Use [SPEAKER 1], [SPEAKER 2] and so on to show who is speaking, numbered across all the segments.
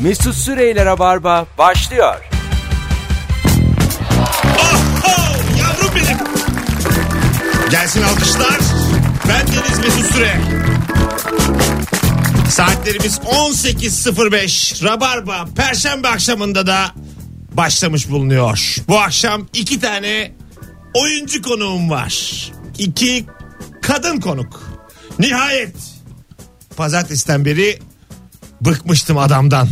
[SPEAKER 1] Mesut Süreyle Rabarba başlıyor.
[SPEAKER 2] Oh, yavrum benim. Gelsin alkışlar. Ben Deniz Mesut Süre. Saatlerimiz 18.05. Rabarba Perşembe akşamında da başlamış bulunuyor. Bu akşam iki tane oyuncu konuğum var. İki kadın konuk. Nihayet pazartesiden beri bıkmıştım adamdan.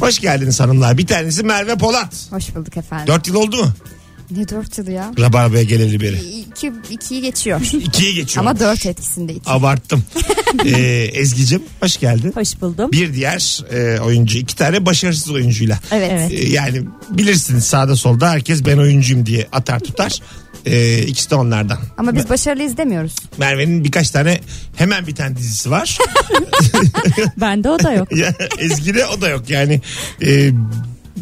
[SPEAKER 2] Hoş geldiniz hanımlar. Bir tanesi Merve Polat.
[SPEAKER 3] Hoş bulduk efendim.
[SPEAKER 2] Dört yıl oldu mu?
[SPEAKER 3] Ne dört yılı ya?
[SPEAKER 2] Rabarba'ya geleli beri.
[SPEAKER 3] İki, ikiyi geçiyor.
[SPEAKER 2] İkiye geçiyor.
[SPEAKER 3] Ama dört etkisinde iki.
[SPEAKER 2] Abarttım. ee, Ezgi'cim hoş geldin.
[SPEAKER 4] Hoş buldum.
[SPEAKER 2] Bir diğer e, oyuncu iki tane başarısız oyuncuyla.
[SPEAKER 3] Evet.
[SPEAKER 4] Evet.
[SPEAKER 2] Ee, yani bilirsiniz sağda solda herkes ben oyuncuyum diye atar tutar. Ee, ikisi de onlardan.
[SPEAKER 3] Ama biz başarılıyız demiyoruz.
[SPEAKER 2] Merve'nin birkaç tane hemen biten dizisi var.
[SPEAKER 4] Bende o da yok.
[SPEAKER 2] Ya, Ezgi'de o da yok yani. Ee,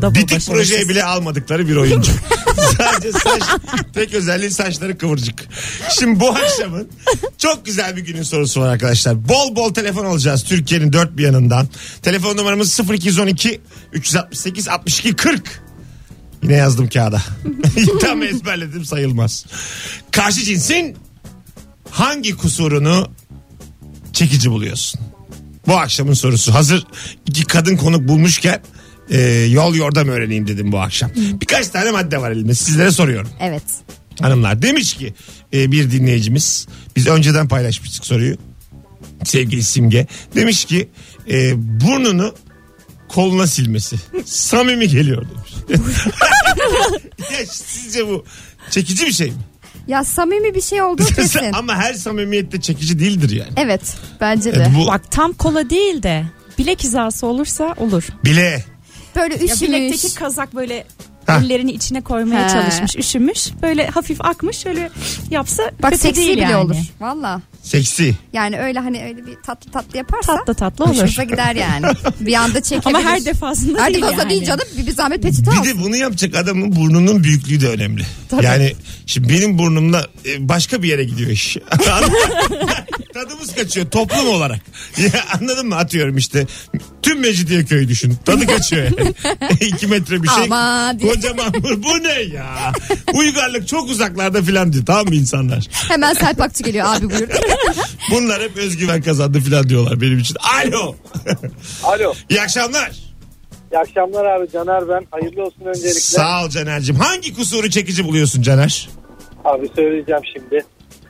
[SPEAKER 4] Double
[SPEAKER 2] bitik
[SPEAKER 4] başarısız.
[SPEAKER 2] projeye bile almadıkları bir oyuncu. Sadece saç, tek özelliği saçları kıvırcık. Şimdi bu akşamın çok güzel bir günün sorusu var arkadaşlar. Bol bol telefon alacağız Türkiye'nin dört bir yanından. Telefon numaramız 0212 368 62 40. Yine yazdım kağıda. Tam ezberledim sayılmaz. Karşı cinsin hangi kusurunu çekici buluyorsun? Bu akşamın sorusu. Hazır iki kadın konuk bulmuşken e, yol yordam öğreneyim dedim bu akşam. Birkaç tane madde var elimde. Sizlere soruyorum
[SPEAKER 3] Evet.
[SPEAKER 2] hanımlar. Demiş ki e, bir dinleyicimiz biz önceden paylaşmıştık soruyu. Sevgili Simge demiş ki e, burnunu koluna silmesi samimi geliyor demiş. ya sizce bu çekici bir şey mi?
[SPEAKER 3] Ya samimi bir şey olduğu kesin.
[SPEAKER 2] Ama her samimiyette çekici değildir yani.
[SPEAKER 3] evet. Bence de.
[SPEAKER 2] Evet, E, bu
[SPEAKER 4] Bak tam kola değil de bilek hizası olursa olur.
[SPEAKER 2] bile
[SPEAKER 3] Böyle
[SPEAKER 4] Ya
[SPEAKER 3] üşümüş.
[SPEAKER 4] bilekteki kazak böyle
[SPEAKER 2] Ha.
[SPEAKER 4] ellerini içine koymaya
[SPEAKER 3] He.
[SPEAKER 4] çalışmış, üşümüş. Böyle hafif akmış şöyle yapsa
[SPEAKER 3] Bak
[SPEAKER 4] kötü
[SPEAKER 3] seksi
[SPEAKER 4] değil
[SPEAKER 3] bile
[SPEAKER 4] yani.
[SPEAKER 3] olur. Valla.
[SPEAKER 2] seksi.
[SPEAKER 3] Yani öyle hani öyle bir tatlı tatlı yaparsa.
[SPEAKER 4] Tatlı tatlı olur.
[SPEAKER 3] Hoşunuza gider yani. bir anda çekebilir.
[SPEAKER 4] Ama her defasında
[SPEAKER 3] Her
[SPEAKER 4] değil
[SPEAKER 3] defasında
[SPEAKER 4] yani.
[SPEAKER 3] değil canım. Bir, bir zahmet peçete al.
[SPEAKER 2] Bir de bunu yapacak adamın burnunun büyüklüğü de önemli.
[SPEAKER 4] Tabii.
[SPEAKER 2] Yani şimdi benim burnumla e, başka bir yere gidiyor iş. Tadımız kaçıyor toplum olarak. Ya anladın mı? Atıyorum işte tüm Mecidiyeköy'ü düşün. Tadı kaçıyor yani. İki metre bir şey.
[SPEAKER 3] Ama diye.
[SPEAKER 2] Kocaman burn. bu ne ya? Uygarlık çok uzaklarda filan diyor. Tamam mı insanlar?
[SPEAKER 3] Hemen selpakçı geliyor abi buyur.
[SPEAKER 2] Bunlar hep özgüven kazandı filan diyorlar benim için. Alo.
[SPEAKER 5] Alo.
[SPEAKER 2] İyi akşamlar.
[SPEAKER 5] İyi akşamlar abi. Caner ben. Hayırlı olsun öncelikle.
[SPEAKER 2] Sağ ol Caner'cim. Hangi kusuru çekici buluyorsun Caner?
[SPEAKER 5] Abi söyleyeceğim şimdi.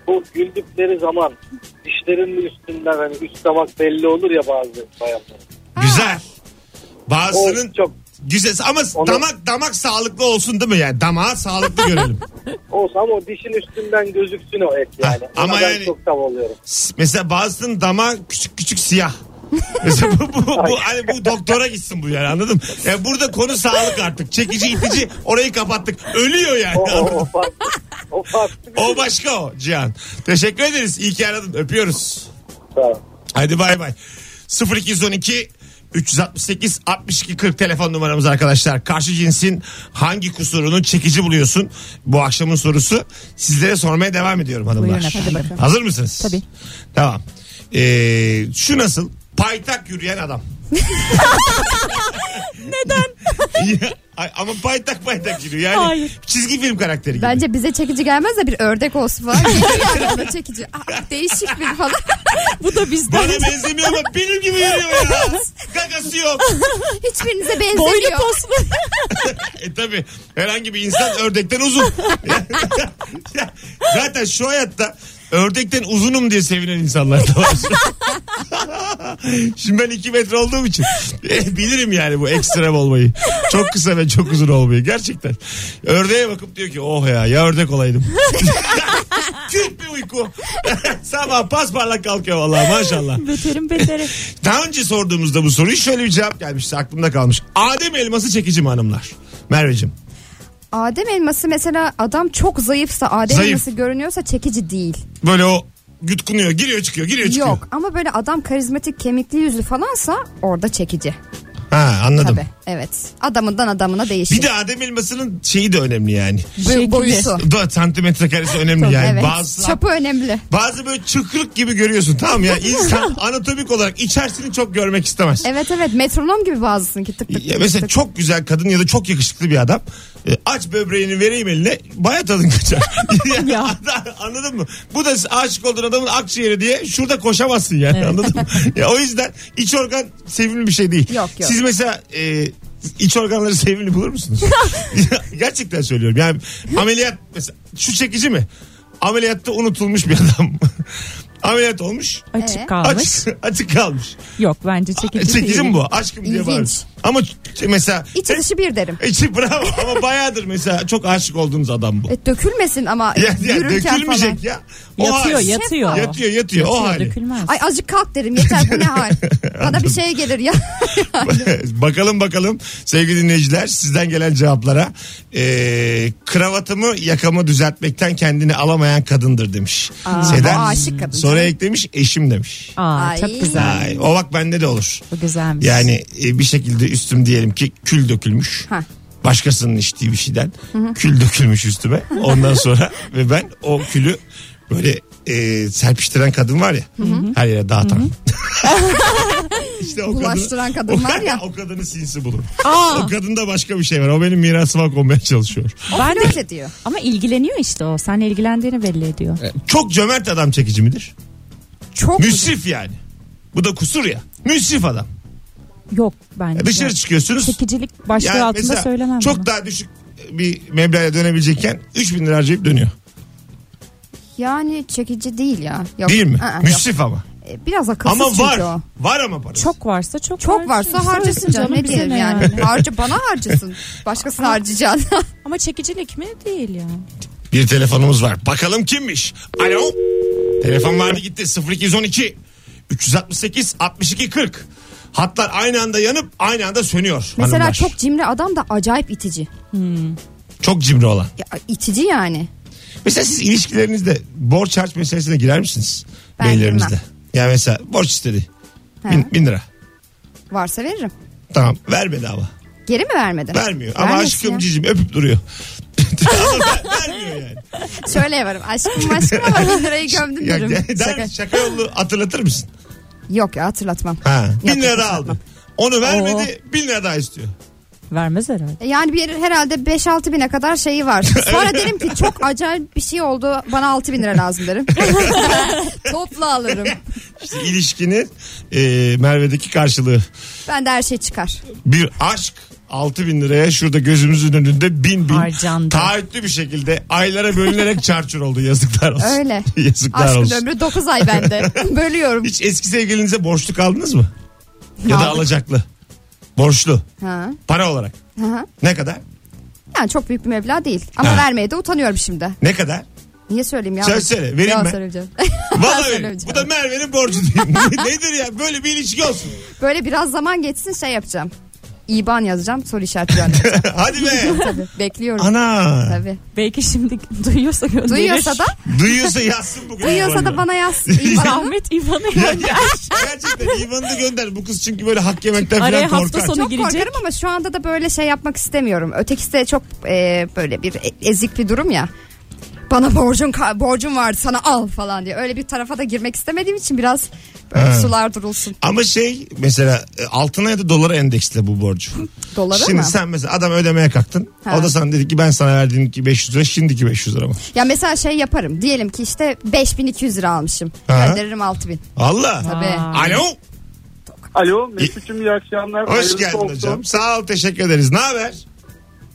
[SPEAKER 5] Bu güldükleri zaman dişlerin üstünden hani üst damak belli olur ya bazı bayanların.
[SPEAKER 2] Güzel.
[SPEAKER 5] O
[SPEAKER 2] Bazısının
[SPEAKER 5] çok
[SPEAKER 2] Güzel ama
[SPEAKER 5] Onu-
[SPEAKER 2] damak damak sağlıklı olsun değil mi yani? Damağı sağlıklı görelim.
[SPEAKER 5] olsa ama o dişin üstünden gözüksün o et yani.
[SPEAKER 2] Ha, ama
[SPEAKER 5] Ona ben
[SPEAKER 2] yani-
[SPEAKER 5] çok tav oluyorum.
[SPEAKER 2] S- Mesela bazısının damağı küçük küçük siyah. Mesela bu, bu, bu, hani bu doktora gitsin bu yani anladın mı? Yani burada konu sağlık artık. Çekici itici orayı kapattık. Ölüyor yani.
[SPEAKER 5] O,
[SPEAKER 2] anladın mı?
[SPEAKER 5] o, o, farklı. o farklı.
[SPEAKER 2] O başka o Cihan. Teşekkür ederiz. İyi ki aradın. Öpüyoruz.
[SPEAKER 5] Tamam.
[SPEAKER 2] Hadi bay bay. 0212 368 62 40 telefon numaramız arkadaşlar. Karşı cinsin hangi kusurunu çekici buluyorsun? Bu akşamın sorusu. Sizlere sormaya devam ediyorum hanımlar.
[SPEAKER 4] Buyurun efendim. Hadi bakalım.
[SPEAKER 2] Hazır mısınız?
[SPEAKER 4] Tabii.
[SPEAKER 2] Tamam. Ee, şu nasıl? Paytak yürüyen adam. Neden? ama paytak paytak yürüyor. Yani
[SPEAKER 4] Hayır.
[SPEAKER 2] çizgi film karakteri gibi.
[SPEAKER 3] Bence bize çekici gelmez de bir ördek olsun falan. Yani ona çekici. Aa, değişik bir falan.
[SPEAKER 4] Bu da bizden.
[SPEAKER 2] Bana benzemiyor ama benim gibi yürüyor ya. Kakası yok.
[SPEAKER 3] Hiçbirinize
[SPEAKER 4] Boylu
[SPEAKER 3] benzemiyor.
[SPEAKER 4] poslu.
[SPEAKER 2] E tabi herhangi bir insan ördekten uzun. Ya, Zaten şu hayatta ördekten uzunum diye sevinen insanlar da var. Şimdi ben 2 metre olduğum için e, bilirim yani bu ekstrem olmayı. Çok kısa ve çok uzun olmayı gerçekten. Ördeğe bakıp diyor ki oh ya ya ördek olaydım. Küt bir uyku. Sabah pasparlak kalkıyor vallahi maşallah.
[SPEAKER 4] Beterin beteri.
[SPEAKER 2] Daha önce sorduğumuzda bu soruyu şöyle bir cevap gelmişti aklımda kalmış. Adem elması çekici mi hanımlar? Merveciğim.
[SPEAKER 3] Adem elması mesela adam çok zayıfsa Adem
[SPEAKER 2] Zayıf.
[SPEAKER 3] elması görünüyorsa çekici değil.
[SPEAKER 2] böyle o yutkunuyor giriyor çıkıyor giriyor çıkıyor.
[SPEAKER 3] Yok ama böyle adam karizmatik kemikli yüzlü falansa orada çekici.
[SPEAKER 2] Ha anladım.
[SPEAKER 3] Tabii. Evet. Adamından adamına değişir.
[SPEAKER 2] Bir de Adem elmasının şeyi de önemli yani.
[SPEAKER 3] Bu-
[SPEAKER 4] Şekli.
[SPEAKER 3] boyutu.
[SPEAKER 2] Da santimetre karesi önemli yani.
[SPEAKER 3] evet.
[SPEAKER 2] Bazı
[SPEAKER 3] Çapı önemli.
[SPEAKER 2] bazı böyle çıkrık gibi görüyorsun tamam ya. İnsan anatomik olarak içerisini çok görmek istemez.
[SPEAKER 3] Evet evet metronom gibi bazısınınki tık tık
[SPEAKER 2] Ya
[SPEAKER 3] tık
[SPEAKER 2] mesela
[SPEAKER 3] tık.
[SPEAKER 2] çok güzel kadın ya da çok yakışıklı bir adam. E, Aç böbreğini vereyim eline. Baya tadın kaçar. ya. Anladın mı? Bu da aşık olduğun adamın akciğeri diye şurada koşamazsın yani. Anladın mı? Ya, o yüzden iç organ sevimli bir şey değil.
[SPEAKER 3] Yok, yok.
[SPEAKER 2] Siz mesela e, iç organları sevimli bulur musunuz? Gerçekten söylüyorum. Yani ameliyat mesela şu çekici mi? Ameliyatta unutulmuş bir adam. Ameliyat olmuş.
[SPEAKER 4] Açık
[SPEAKER 3] Ee?
[SPEAKER 4] kalmış.
[SPEAKER 2] Açık, açık kalmış.
[SPEAKER 4] Yok bence çekici,
[SPEAKER 2] Çekici
[SPEAKER 4] değil.
[SPEAKER 2] mi bu? Aşkım diye
[SPEAKER 3] şey İlginç.
[SPEAKER 2] bağırır. Ama ç- şey mesela
[SPEAKER 3] İç dışı bir derim.
[SPEAKER 2] İçi bravo ama bayağıdır mesela çok aşık olduğunuz adam bu.
[SPEAKER 3] E, dökülmesin ama
[SPEAKER 2] Ya, ya
[SPEAKER 3] yürürken
[SPEAKER 2] dökülmeyecek
[SPEAKER 3] falan.
[SPEAKER 2] ya. O
[SPEAKER 4] Yatıyor,
[SPEAKER 2] hal-
[SPEAKER 4] yatıyor.
[SPEAKER 2] Yatıyor yatıyor o hali.
[SPEAKER 4] Dökülmez.
[SPEAKER 3] Ay azıcık kalk derim yeter bu ne hal. Bana bir şey gelir ya.
[SPEAKER 2] bakalım bakalım sevgili dinleyiciler sizden gelen cevaplara. Ee, kravatımı yakamı düzeltmekten kendini alamayan kadındır demiş.
[SPEAKER 3] Aa, bu aşık kadın.
[SPEAKER 2] Sonra eklemiş eşim demiş.
[SPEAKER 4] Aa,
[SPEAKER 3] Ay.
[SPEAKER 4] çok güzel.
[SPEAKER 2] Ay, o bak bende de olur.
[SPEAKER 4] Bu güzelmiş.
[SPEAKER 2] Yani e, bir şekilde üstüm diyelim ki kül dökülmüş.
[SPEAKER 3] Ha.
[SPEAKER 2] Başkasının içtiği bir şeyden kül dökülmüş üstüme. Ondan sonra ve ben o külü böyle e, serpiştiren kadın var ya. Her yere dağıtan. işte o
[SPEAKER 3] Bulaştıran kadın var ya.
[SPEAKER 2] o kadını sinsi bulur. O
[SPEAKER 4] Aa,
[SPEAKER 2] kadında başka bir şey var. O benim mirasıma konmaya çalışıyor.
[SPEAKER 4] ben de,
[SPEAKER 3] Flört ediyor.
[SPEAKER 4] ama ilgileniyor işte o. Sen ilgilendiğini belli ediyor.
[SPEAKER 2] Çok cömert adam çekici midir?
[SPEAKER 3] Çok
[SPEAKER 2] Müsrif yani. Bu da kusur ya. Müsrif adam.
[SPEAKER 4] Yok bence.
[SPEAKER 2] E, Dışarı çıkıyorsunuz.
[SPEAKER 4] Çekicilik başlığı
[SPEAKER 2] Yani
[SPEAKER 4] altında
[SPEAKER 2] mesela
[SPEAKER 4] söylemem.
[SPEAKER 2] Çok
[SPEAKER 4] bunu.
[SPEAKER 2] daha düşük bir meblağa dönebilecekken 3000 lira harcayıp dönüyor.
[SPEAKER 3] yani çekici değil ya. Yok.
[SPEAKER 2] Değil mi?
[SPEAKER 3] Aa, yok.
[SPEAKER 2] Müsrif ama.
[SPEAKER 3] E, Biraz akılsız
[SPEAKER 2] Ama
[SPEAKER 3] çünkü
[SPEAKER 2] var.
[SPEAKER 3] o.
[SPEAKER 2] Var ama parası.
[SPEAKER 4] Çok varsa çok
[SPEAKER 3] Çok varsa harcasın canım ne
[SPEAKER 4] bize
[SPEAKER 3] diyelim yani. Harca bana harcasın. Başkasına harcayacaksın.
[SPEAKER 4] Ama çekicilik mi? Değil yani.
[SPEAKER 2] Bir telefonumuz var. Bakalım kimmiş? Alo. Telefon vardı gitti. 0212 368 62 40. Hatlar aynı anda yanıp aynı anda sönüyor.
[SPEAKER 3] Mesela
[SPEAKER 2] hanımlar.
[SPEAKER 3] çok cimri adam da acayip itici.
[SPEAKER 2] çok cimri olan.
[SPEAKER 3] Ya, itici yani.
[SPEAKER 2] Mesela siz ilişkilerinizde borç harç meselesine girer misiniz?
[SPEAKER 3] Ben
[SPEAKER 2] Beylerinizde.
[SPEAKER 3] girmem.
[SPEAKER 2] Yani mesela borç istedi.
[SPEAKER 3] He.
[SPEAKER 2] Bin, bin lira.
[SPEAKER 3] Varsa veririm.
[SPEAKER 2] Tamam ver bedava.
[SPEAKER 3] Geri mi vermedi?
[SPEAKER 2] Vermiyor. Ama
[SPEAKER 3] Vermesin
[SPEAKER 2] aşkım
[SPEAKER 3] ya.
[SPEAKER 2] cicim öpüp duruyor. Ama ver- vermiyor yani.
[SPEAKER 3] Şöyle yaparım. Aşkım aşkım ama bin lirayı gömdüm
[SPEAKER 2] Ya, der,
[SPEAKER 3] derim. Şaka.
[SPEAKER 2] şaka. yollu hatırlatır mısın?
[SPEAKER 3] Yok ya hatırlatmam.
[SPEAKER 2] Ha.
[SPEAKER 3] Yok,
[SPEAKER 2] Bin lira daha aldı. Onu vermedi bin lira daha istiyor.
[SPEAKER 4] Vermez herhalde.
[SPEAKER 3] E, Yani bir herhalde 5-6 bine kadar şeyi var. Sonra derim ki çok acayip bir şey oldu. Bana 6 bin lira lazım derim. Topla alırım.
[SPEAKER 2] İşte ilişkinin e, Merve'deki karşılığı.
[SPEAKER 3] Ben de her şey çıkar.
[SPEAKER 2] Bir aşk 6000 bin liraya şurada gözümüzün önünde bin bin
[SPEAKER 4] Harcandı.
[SPEAKER 2] taahhütlü bir şekilde aylara bölünerek çarçur oldu yazıklar olsun.
[SPEAKER 3] Öyle.
[SPEAKER 2] yazıklar
[SPEAKER 3] Aşkın
[SPEAKER 2] olsun.
[SPEAKER 3] ömrü 9 ay bende. Bölüyorum.
[SPEAKER 2] Hiç eski sevgilinize borçlu kaldınız mı? Ya da
[SPEAKER 3] Aldık.
[SPEAKER 2] alacaklı. Borçlu.
[SPEAKER 3] Ha.
[SPEAKER 2] Para olarak.
[SPEAKER 3] Hı hı.
[SPEAKER 2] Ne kadar?
[SPEAKER 3] Yani çok büyük bir meblağ değil. Ama
[SPEAKER 2] Ha.
[SPEAKER 3] vermeye de utanıyorum şimdi.
[SPEAKER 2] Ne kadar?
[SPEAKER 3] Niye söyleyeyim ya?
[SPEAKER 2] Sen söyle, vereyim
[SPEAKER 3] Yalan
[SPEAKER 2] ben.
[SPEAKER 3] söylemeyeceğim.
[SPEAKER 2] Vallahi öyle.
[SPEAKER 3] söylemeyeceğim.
[SPEAKER 2] Bu da Merve'nin borcu değil. Nedir ya? Böyle bir ilişki olsun.
[SPEAKER 3] Böyle biraz zaman geçsin şey yapacağım. İban yazacağım soru işareti göndereceğim.
[SPEAKER 2] Hadi be.
[SPEAKER 3] Tabii bekliyorum.
[SPEAKER 2] Ana.
[SPEAKER 3] Tabii.
[SPEAKER 4] Belki şimdi duyuyorsa gönderir.
[SPEAKER 3] Duyuyorsa da
[SPEAKER 2] Duyuyorsa yazsın bugün.
[SPEAKER 3] duyuyorsa da
[SPEAKER 2] İvan'ı.
[SPEAKER 3] bana yaz. İban'ı.
[SPEAKER 4] Zahmet İvan'ı
[SPEAKER 2] Ya,
[SPEAKER 4] gönder.
[SPEAKER 2] ya, Gerçekten İvan'ı da gönder. Bu kız çünkü böyle hak yemekten falan
[SPEAKER 4] Araya
[SPEAKER 2] korkar.
[SPEAKER 4] hafta sonu
[SPEAKER 3] Çok
[SPEAKER 4] girecek.
[SPEAKER 3] korkarım ama şu anda da böyle şey yapmak istemiyorum. Ötekisi de çok e, böyle bir e- ezik bir durum ya. Bana borcun ka- borcun vardı sana al falan diye. Öyle bir tarafa da girmek istemediğim için biraz böyle
[SPEAKER 2] Ha.
[SPEAKER 3] sular durulsun.
[SPEAKER 2] Ama şey mesela e, altına ya da dolara endeksle bu borcu.
[SPEAKER 3] Dolara
[SPEAKER 2] Şimdi
[SPEAKER 3] mı?
[SPEAKER 2] sen mesela adam ödemeye kalktın.
[SPEAKER 3] Ha.
[SPEAKER 2] O da sana dedi ki ben sana verdiğim ki 500 lira şimdiki 500 lira mı?
[SPEAKER 3] Ya mesela şey yaparım. Diyelim ki işte 5200 lira almışım.
[SPEAKER 2] Ha.
[SPEAKER 3] Gönderirim 6000.
[SPEAKER 2] Allah.
[SPEAKER 3] Tabii.
[SPEAKER 4] Aa.
[SPEAKER 2] Alo.
[SPEAKER 5] Alo Mesut'cum iyi akşamlar.
[SPEAKER 2] Hoş
[SPEAKER 5] Hayırlısı
[SPEAKER 2] geldin
[SPEAKER 5] olsun.
[SPEAKER 2] hocam. Sağ ol teşekkür ederiz. Ne haber?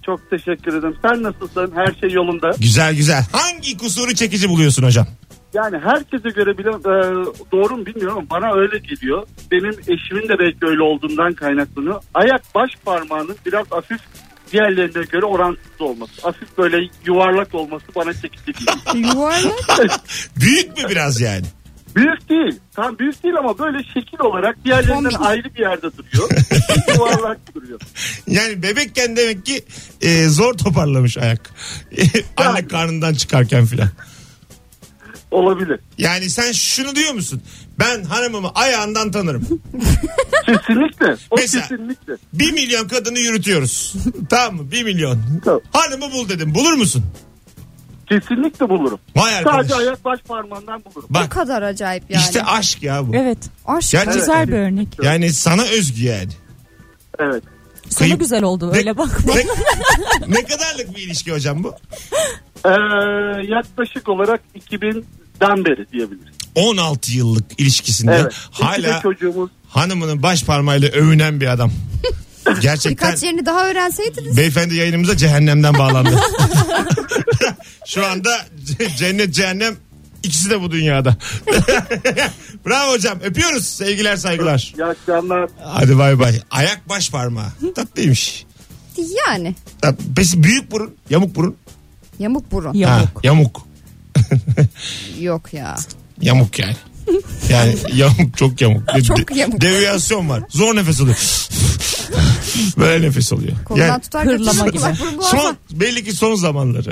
[SPEAKER 5] Çok teşekkür ederim. Sen nasılsın? Her şey yolunda.
[SPEAKER 2] Güzel güzel. Hangi kusuru çekici buluyorsun hocam?
[SPEAKER 5] Yani herkese göre bile e, doğru mu bilmiyorum ama bana öyle geliyor. Benim eşimin de belki öyle olduğundan kaynaklanıyor. Ayak baş parmağının biraz hafif diğerlerine göre orantısız olması. Hafif böyle yuvarlak olması bana çekici geliyor.
[SPEAKER 3] E, Yuvarlak.
[SPEAKER 2] Büyük mü biraz yani?
[SPEAKER 5] büyük değil. Tam büyük değil ama böyle şekil olarak diğerlerinden
[SPEAKER 3] Kombin.
[SPEAKER 5] ayrı bir yerde duruyor. yuvarlak duruyor.
[SPEAKER 2] Yani bebekken demek ki e, zor toparlamış ayak. Anne karnından çıkarken filan.
[SPEAKER 5] Olabilir.
[SPEAKER 2] Yani sen şunu diyor musun? Ben hanımımı ayağından tanırım.
[SPEAKER 5] Kesinlikle. O
[SPEAKER 2] Mesela
[SPEAKER 5] Kesinlikle.
[SPEAKER 2] 1 milyon kadını yürütüyoruz. tamam mı? 1 milyon.
[SPEAKER 5] Tamam.
[SPEAKER 2] Hanımı bul dedim. Bulur musun?
[SPEAKER 5] Kesinlikle bulurum.
[SPEAKER 2] Vay arkadaş.
[SPEAKER 5] Sadece ayak baş parmağından bulurum.
[SPEAKER 3] Bu
[SPEAKER 2] Bak
[SPEAKER 3] kadar acayip yani.
[SPEAKER 2] işte aşk ya bu.
[SPEAKER 4] Evet.
[SPEAKER 3] Aşk.
[SPEAKER 2] Yani-
[SPEAKER 4] Güzel bir örnek.
[SPEAKER 2] Yani sana özgü yani.
[SPEAKER 5] Evet.
[SPEAKER 4] Sonu
[SPEAKER 2] Kıyıp-
[SPEAKER 4] güzel oldu.
[SPEAKER 2] Ne-
[SPEAKER 4] Öyle bak.
[SPEAKER 2] Ne, ne kadarlık bir ilişki hocam bu?
[SPEAKER 5] Ee, yaklaşık olarak 2000'den beri diyebiliriz.
[SPEAKER 2] 16 yıllık ilişkisinde
[SPEAKER 5] Evet. İki de
[SPEAKER 2] hala
[SPEAKER 5] çocuğumuz
[SPEAKER 2] hanımının baş parmağıyla övünen bir adam. Gerçekten
[SPEAKER 3] Birkaç yerini daha öğrenseydiniz.
[SPEAKER 2] beyefendi yayınımıza cehennemden bağlandı. Şu anda ce- cennet cehennem ikisi de bu dünyada. Bravo hocam öpüyoruz sevgiler saygılar.
[SPEAKER 5] İyi akşamlar.
[SPEAKER 2] Hadi bay bay. Ayak baş parmağı tatlıymış.
[SPEAKER 3] Yani.
[SPEAKER 2] Tat- Pes- Büyük burun yamuk burun.
[SPEAKER 3] Yamuk burun.
[SPEAKER 2] Ha,
[SPEAKER 4] Yamuk.
[SPEAKER 2] yamuk.
[SPEAKER 3] Yok ya.
[SPEAKER 2] Yamuk yani. Yani yamuk çok yamuk. De-
[SPEAKER 3] Çok yamuk.
[SPEAKER 2] Deviyasyon var. Zor nefes alıyor. Böyle nefes alıyor.
[SPEAKER 3] Koldan
[SPEAKER 2] Yani
[SPEAKER 3] tutar
[SPEAKER 4] Hırlama
[SPEAKER 3] götürür.
[SPEAKER 4] gibi.
[SPEAKER 3] Bak, burun boğaza.
[SPEAKER 2] son, belli ki son zamanları.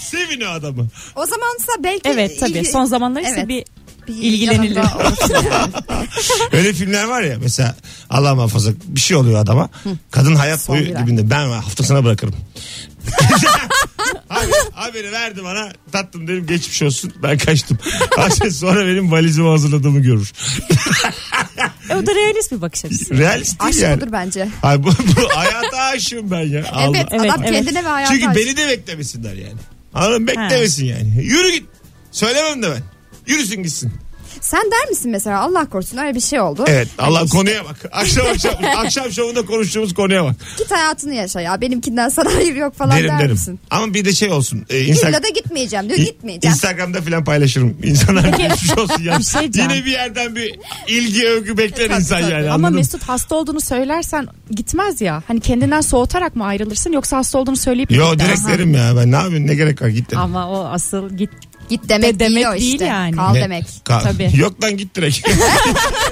[SPEAKER 2] Sevin o adamı.
[SPEAKER 3] O zamansa belki.
[SPEAKER 4] Evet tabii.
[SPEAKER 3] ilgi-
[SPEAKER 4] Son zamanlar ise
[SPEAKER 3] Evet.
[SPEAKER 4] bir
[SPEAKER 3] Bir
[SPEAKER 4] ilgilenilir.
[SPEAKER 3] yanında olursun yani.
[SPEAKER 2] Öyle filmler var ya mesela Allah muhafaza bir şey oluyor adama. Kadın hayat
[SPEAKER 3] Son
[SPEAKER 2] boyu
[SPEAKER 3] bir ay.
[SPEAKER 2] dibinde. Ben haftasına bırakırım. Abi, haberi verdi bana tatlım dedim geçmiş olsun ben kaçtım. Ayşe sonra benim valizimi hazırladığımı görür.
[SPEAKER 4] E, o da realist bir bakış açısı.
[SPEAKER 2] Realist değil
[SPEAKER 3] Aşk
[SPEAKER 2] yani.
[SPEAKER 3] budur bence.
[SPEAKER 2] Ay bu, bu hayata aşığım ben ya. Allah.
[SPEAKER 3] Evet,
[SPEAKER 4] Evet,
[SPEAKER 3] adam
[SPEAKER 4] evet.
[SPEAKER 3] kendine ve hayata
[SPEAKER 2] Çünkü
[SPEAKER 3] aşık.
[SPEAKER 2] beni de beklemesinler yani. Anladın mı? beklemesin yani. Yürü git. Söylemem de ben. Yürüsün gitsin.
[SPEAKER 3] Sen der misin mesela Allah korusun öyle bir şey oldu.
[SPEAKER 2] Evet. Allah konuya bak. Akşam akşam akşam şovunda konuştuğumuz konuya bak.
[SPEAKER 3] Git hayatını yaşa ya benimkinden sana hayır yok falan
[SPEAKER 2] derim
[SPEAKER 3] der
[SPEAKER 2] derim.
[SPEAKER 3] misin?
[SPEAKER 2] Ama bir de şey olsun. E, Insta-
[SPEAKER 3] İlla da gitmeyeceğim diyor
[SPEAKER 2] İ-
[SPEAKER 3] gitmeyeceğim.
[SPEAKER 2] Instagram'da falan paylaşırım. İnsanlar geçmiş olsun ya.
[SPEAKER 4] bir şey diyeceğim.
[SPEAKER 2] Yine bir yerden bir ilgi övgü bekler
[SPEAKER 3] Tabii,
[SPEAKER 2] insan
[SPEAKER 3] tabii.
[SPEAKER 2] yani.
[SPEAKER 6] Ama
[SPEAKER 2] anladın mı?
[SPEAKER 6] Mesut hasta olduğunu söylersen gitmez ya. Hani kendinden soğutarak mı ayrılırsın yoksa hasta olduğunu söyleyip mi
[SPEAKER 2] Yo
[SPEAKER 6] gider?
[SPEAKER 2] direkt derim ya ben ne yapayım ne gerek var git derim.
[SPEAKER 4] Ama o asıl git.
[SPEAKER 3] Git demek,
[SPEAKER 4] De- demek
[SPEAKER 3] değil o
[SPEAKER 4] değil
[SPEAKER 3] işte.
[SPEAKER 4] yani.
[SPEAKER 3] Kal
[SPEAKER 2] Ne?
[SPEAKER 3] demek.
[SPEAKER 2] Ka-
[SPEAKER 4] Tabii.
[SPEAKER 2] Yok lan git direkt.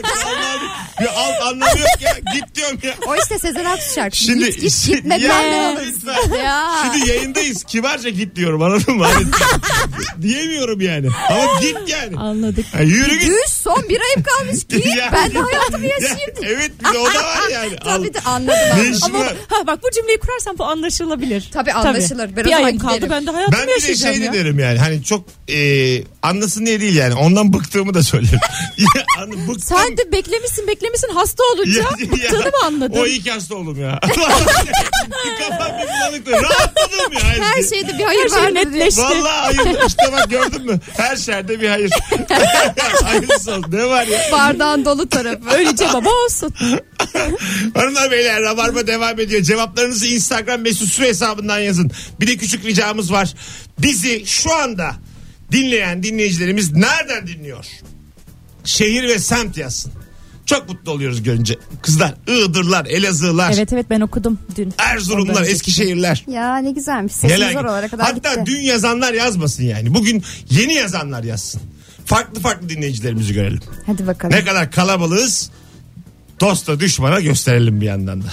[SPEAKER 2] ya al anlamı yok ya. Git diyorum ya.
[SPEAKER 3] O işte Sezen Aksu şarkısı.
[SPEAKER 2] Şimdi
[SPEAKER 3] git git gitme
[SPEAKER 2] Ya,
[SPEAKER 3] benden alırsın.
[SPEAKER 2] lütfen.
[SPEAKER 3] Ya.
[SPEAKER 2] Şimdi yayındayız. Kibarca git diyorum anladın mı? Hani diyemiyorum yani. Ama git yani.
[SPEAKER 4] Anladık.
[SPEAKER 2] Ha, yürü git.
[SPEAKER 3] Düz son bir ayım kalmış git.
[SPEAKER 2] Ya.
[SPEAKER 3] ben de hayatımı
[SPEAKER 2] Ya,
[SPEAKER 3] yaşayayım diye.
[SPEAKER 2] evet bir de o da var yani. Al.
[SPEAKER 3] Tabii de anladım.
[SPEAKER 2] Ne
[SPEAKER 3] anladım.
[SPEAKER 2] işin
[SPEAKER 4] Ama
[SPEAKER 2] var?
[SPEAKER 4] ha, bak bu cümleyi kurarsan bu anlaşılabilir.
[SPEAKER 3] Tabii anlaşılır. Ben o
[SPEAKER 4] bir
[SPEAKER 3] zaman
[SPEAKER 4] ayım kaldı
[SPEAKER 3] giderim.
[SPEAKER 4] ben de hayatımı
[SPEAKER 2] Ben bir de
[SPEAKER 4] yaşayacağım
[SPEAKER 2] şey
[SPEAKER 4] ya.
[SPEAKER 2] de derim yani hani çok e, anlasın diye değil yani ondan bıktığımı da söylerim. ya, anı, bıktım.
[SPEAKER 4] Sen de beklemişsin beklemişsin hasta olunca bıktığını mı anladın?
[SPEAKER 2] O iyi ki hasta oldum ya. Bir Kafam bir bulanıktı. Rahatladım ya.
[SPEAKER 3] Her şeyde bir
[SPEAKER 4] Her
[SPEAKER 3] hayır
[SPEAKER 4] şey
[SPEAKER 3] var. diye.
[SPEAKER 4] netleşti.
[SPEAKER 2] Vallahi hayır. İşte bak gördün mü? Her şerde bir hayır. Hayırlısı olsun. Ne var ya?
[SPEAKER 3] Bardağın dolu tarafı.
[SPEAKER 4] Öylece baba olsun.
[SPEAKER 2] Hanımlar beyler Rabarba devam ediyor. Cevaplarınızı Instagram mesut süre hesabından yazın. Bir de küçük ricamız var. Bizi şu anda dinleyen dinleyicilerimiz nereden dinliyor? Şehir ve semt yazsın. Çok mutlu oluyoruz görünce. Kızlar, Iğdırlar, Elazığlar,
[SPEAKER 4] Evet evet ben okudum dün.
[SPEAKER 2] Erzurumlar,
[SPEAKER 4] Ondan önceki
[SPEAKER 2] Eskişehirler.
[SPEAKER 3] Ya ne güzelmiş. Sesimiz
[SPEAKER 2] Neler-
[SPEAKER 3] oralara kadar
[SPEAKER 2] Hatta
[SPEAKER 3] gitti.
[SPEAKER 2] dün yazanlar yazmasın yani. Bugün yeni yazanlar yazsın. Farklı farklı dinleyicilerimizi görelim.
[SPEAKER 3] Hadi bakalım.
[SPEAKER 2] Ne kadar kalabalığız dosta düşmana gösterelim bir yandan da.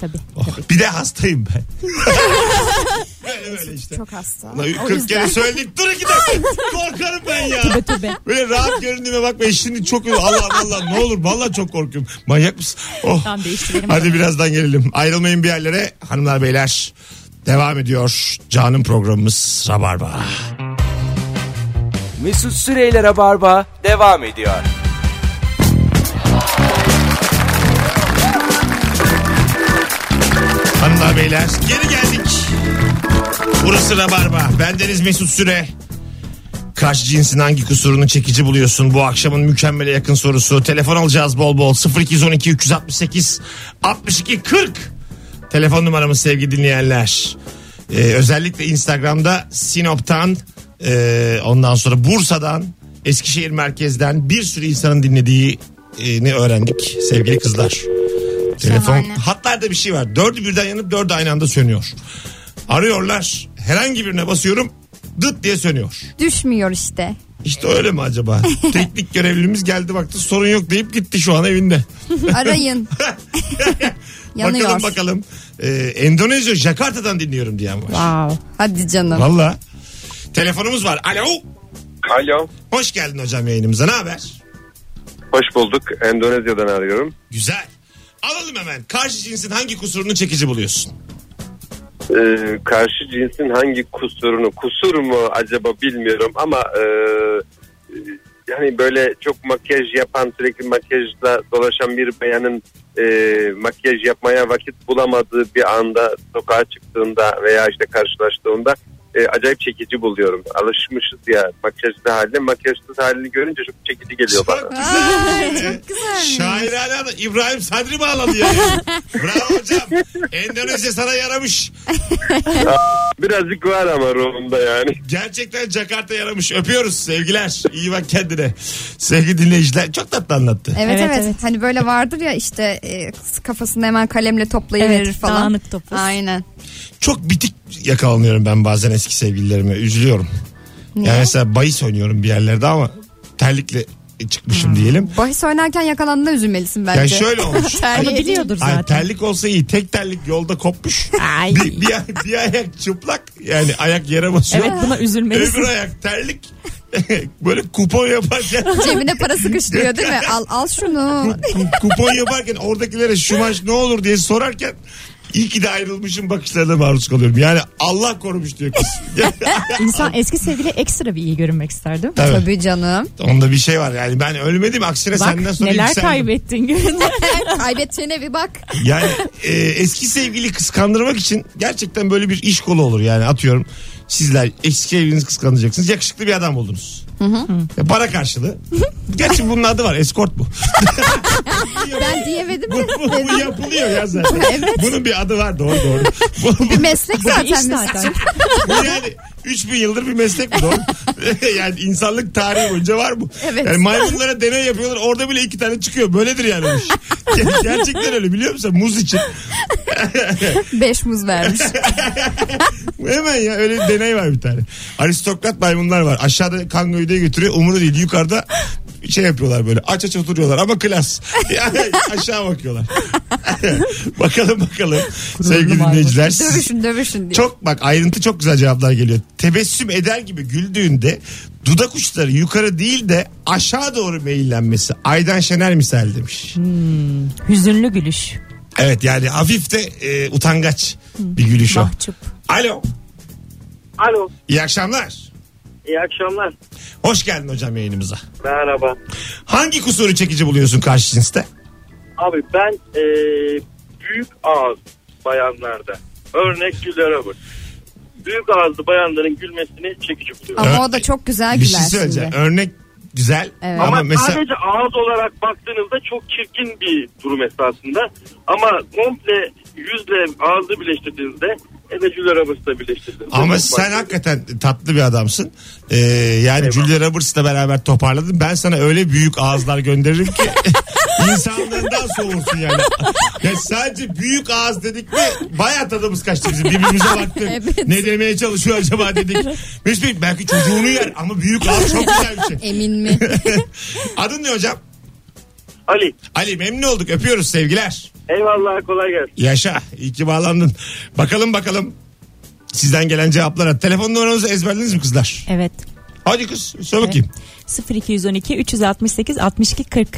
[SPEAKER 4] Tabii.
[SPEAKER 2] Oh, bir de hastayım ben. böyle böyle işte.
[SPEAKER 3] Çok hasta.
[SPEAKER 2] Ulan 40 kere söyledik dur iki dakika. Korkarım ben ya.
[SPEAKER 4] Tübe tübe.
[SPEAKER 2] Böyle rahat göründüğüme bakma e, şimdi çok Allah Allah ne olur vallahi çok korkuyorum. Manyak mısın? Oh.
[SPEAKER 4] Tamam, değiştirelim.
[SPEAKER 2] Hadi birazdan gelelim. Ayrılmayın bir yerlere hanımlar beyler. Devam ediyor Can'ın programımız Rabarba.
[SPEAKER 1] Mesut Süreyler'e barba devam ediyor.
[SPEAKER 2] Hanımlar beyler geri geldik. Burası Rabarba. Bendeniz Mesut Süre. Karşı cinsin hangi kusurunu çekici buluyorsun? Bu akşamın mükemmele yakın sorusu. Telefon alacağız bol bol. 0212 368 62 40. Telefon numaramız sevgili dinleyenler. Ee, özellikle Instagram'da Sinop'tan, e, ondan sonra Bursa'dan, Eskişehir merkezden bir sürü insanın dinlediğini öğrendik sevgili kızlar. Telefon
[SPEAKER 3] Şahane.
[SPEAKER 2] hatlarda bir şey var. Dördü birden yanıp dördü aynı anda sönüyor. Arıyorlar. Herhangi birine basıyorum. Dıt diye sönüyor.
[SPEAKER 3] Düşmüyor işte.
[SPEAKER 2] İşte öyle mi acaba? Teknik görevlimiz geldi baktı sorun yok deyip gitti şu an evinde.
[SPEAKER 3] Arayın. Yanıyor.
[SPEAKER 2] Bakalım bakalım. Ee, Endonezya Jakarta'dan dinliyorum diyen var.
[SPEAKER 4] Wow.
[SPEAKER 3] Hadi canım.
[SPEAKER 2] Valla. Telefonumuz var. Alo.
[SPEAKER 7] Alo.
[SPEAKER 2] Hoş geldin hocam yayınımıza. Ne haber?
[SPEAKER 7] Hoş bulduk. Endonezya'dan arıyorum.
[SPEAKER 2] Güzel. Alalım hemen. Karşı cinsin hangi kusurunu çekici buluyorsun?
[SPEAKER 7] Ee, karşı cinsin hangi kusurunu kusur mu acaba bilmiyorum ama e, e, yani böyle çok makyaj yapan sürekli makyajla dolaşan bir bayanın e, makyaj yapmaya vakit bulamadığı bir anda sokağa çıktığında veya işte karşılaştığında e, acayip çekici buluyorum. Alışmışız ya makyajlı haline makyajsız halini görünce çok çekici geliyor bana.
[SPEAKER 2] Çok güzel. Ee, Şairane adam. İbrahim Sadri bağladı ya. Bravo hocam. Endonezya sana yaramış.
[SPEAKER 7] Birazcık var ama ruhumda yani.
[SPEAKER 2] Gerçekten Jakarta yaramış. Öpüyoruz sevgiler. İyi bak kendine. Sevgili dinleyiciler çok tatlı anlattı.
[SPEAKER 3] Evet,
[SPEAKER 6] Evet,
[SPEAKER 3] evet
[SPEAKER 6] evet.
[SPEAKER 3] Hani böyle vardır ya işte e, kafasını hemen kalemle toplayıverir
[SPEAKER 6] Evet,
[SPEAKER 3] falan.
[SPEAKER 6] dağınık topuz.
[SPEAKER 3] Aynen.
[SPEAKER 2] Çok bitik yakalanıyorum ben bazen eski sevgililerime. Üzülüyorum.
[SPEAKER 3] Niye?
[SPEAKER 2] Yani mesela bahis oynuyorum bir yerlerde ama terlikle çıkmışım diyelim.
[SPEAKER 3] Bahis oynarken yakalandığında üzülmelisin bence.
[SPEAKER 2] Yani şöyle olmuş.
[SPEAKER 3] Terliğe-
[SPEAKER 6] Ama biliyordur
[SPEAKER 2] Ay,
[SPEAKER 6] zaten.
[SPEAKER 2] terlik olsa iyi. Tek terlik yolda kopmuş.
[SPEAKER 6] Ay.
[SPEAKER 2] Bir, bir, ay- bir ayak çıplak. Yani ayak yere basıyor.
[SPEAKER 6] Evet buna
[SPEAKER 2] Öbür
[SPEAKER 6] üzülmelisin.
[SPEAKER 2] ayak terlik. Böyle kupon yaparken
[SPEAKER 3] Cebine para sıkıştırıyor değil mi? Al al şunu.
[SPEAKER 2] ku- kupon yaparken oradakilere şu maç ne olur diye sorarken iyi ki de ayrılmışım bakışlarına maruz kalıyorum. Yani Allah korumuş diyor kız.
[SPEAKER 6] İnsan eski sevgili ekstra bir iyi görünmek ister değil mi?
[SPEAKER 2] Tabii.
[SPEAKER 3] Tabii canım.
[SPEAKER 2] Onda bir şey var yani ben ölmedim aksine senden
[SPEAKER 6] Bak
[SPEAKER 2] sonra
[SPEAKER 6] neler
[SPEAKER 2] yükseldim.
[SPEAKER 6] kaybettin günde.
[SPEAKER 3] Kaybedeceğine bir bak.
[SPEAKER 2] Yani e, eski sevgili kıskandırmak için gerçekten böyle bir iş kolu olur yani atıyorum. Sizler eski evinizi kıskanacaksınız. Yakışıklı bir adam buldunuz. Ya Para karşılığı. Gerçi bunun adı var. Eskort bu.
[SPEAKER 3] Ben diyemedim.
[SPEAKER 2] bu, bu, bu yapılıyor ya zaten. Bunun bir adı var doğru doğru. Bu, bu,
[SPEAKER 3] Bir meslek
[SPEAKER 6] iş
[SPEAKER 3] zaten.
[SPEAKER 6] zaten.
[SPEAKER 2] bu yani 3000 yıldır bir meslek bu doğru. yani insanlık tarihi boyunca var bu.
[SPEAKER 3] Evet.
[SPEAKER 2] Yani maymunlara deney yapıyorlar orada bile iki tane çıkıyor. Böyledir yani bu iş. Ger- Gerçekten öyle biliyor musun? Muz için.
[SPEAKER 3] Beş muz vermiş.
[SPEAKER 2] Hemen ya öyle bir deney var bir tane. Aristokrat maymunlar var. Aşağıda kangoyu diye götürüyor. Umuru değil. Yukarıda şey yapıyorlar böyle aç aç oturuyorlar ama klas Yani aşağı bakıyorlar bakalım bakalım sevgili
[SPEAKER 6] maymun.
[SPEAKER 2] dinleyiciler siz-
[SPEAKER 3] dövüşün dövüşün diye.
[SPEAKER 2] Çok bak ayrıntı çok güzel cevaplar geliyor. Tebessüm eder gibi güldüğünde dudak uçları yukarı değil de aşağı doğru meyillenmesi. Aydan Şener misal demiş.
[SPEAKER 6] Hüzünlü gülüş.
[SPEAKER 2] Evet yani hafif de e, utangaç bir gülüş o.
[SPEAKER 6] Mahcup.
[SPEAKER 2] Alo
[SPEAKER 5] Alo
[SPEAKER 2] iyi akşamlar.
[SPEAKER 5] iyi akşamlar.
[SPEAKER 2] Hoş geldin hocam yayınımıza.
[SPEAKER 5] Merhaba.
[SPEAKER 2] Hangi kusuru çekici buluyorsun karşı cinste?
[SPEAKER 5] Abi ben e, büyük ağız bayanlarda örnek Gülere bak. Büyük ağızlı bayanların gülmesini çekici buluyorum.
[SPEAKER 3] Ama o da çok güzel
[SPEAKER 2] Bir şey
[SPEAKER 3] güler
[SPEAKER 2] söyleyeceğim.
[SPEAKER 3] şimdi.
[SPEAKER 2] Örnek güzel
[SPEAKER 3] Evet.
[SPEAKER 2] ama,
[SPEAKER 5] Ama
[SPEAKER 2] mesela
[SPEAKER 5] sadece ağız olarak baktığınızda çok çirkin bir durum esasında. Ama komple yüzle ağzı birleştirdiğinizde Ede Julia Roberts'la birleştirdiğinizde.
[SPEAKER 2] ama
[SPEAKER 5] çok
[SPEAKER 2] sen
[SPEAKER 5] farklı.
[SPEAKER 2] hakikaten tatlı bir adamsın. Ee, yani Julia Roberts'la beraber toparladın. Ben sana öyle büyük ağızlar gönderirim ki insanlığından soğursun yani. Ya sadece büyük ağız dedik mi bayağı tadımız kaçtı bizim. Birbirimize baktık.
[SPEAKER 3] Evet.
[SPEAKER 2] Ne demeye çalışıyor acaba dedik. Mesut Bey, belki çocuğunu yer ama büyük ağız çok güzel bir şey.
[SPEAKER 3] Emin mi?
[SPEAKER 2] Adın ne hocam?
[SPEAKER 5] Ali
[SPEAKER 2] Ali memnun olduk. Öpüyoruz sevgiler.
[SPEAKER 5] eyvallah kolay gelsin.
[SPEAKER 2] Yaşa. İyi ki bağlandın. Bakalım bakalım. Sizden gelen cevaplara. Telefon numaranızı ezberlediniz mi kızlar?
[SPEAKER 6] Evet.
[SPEAKER 2] Hadi kız söyle bakayım.
[SPEAKER 6] 0212 368 62 40.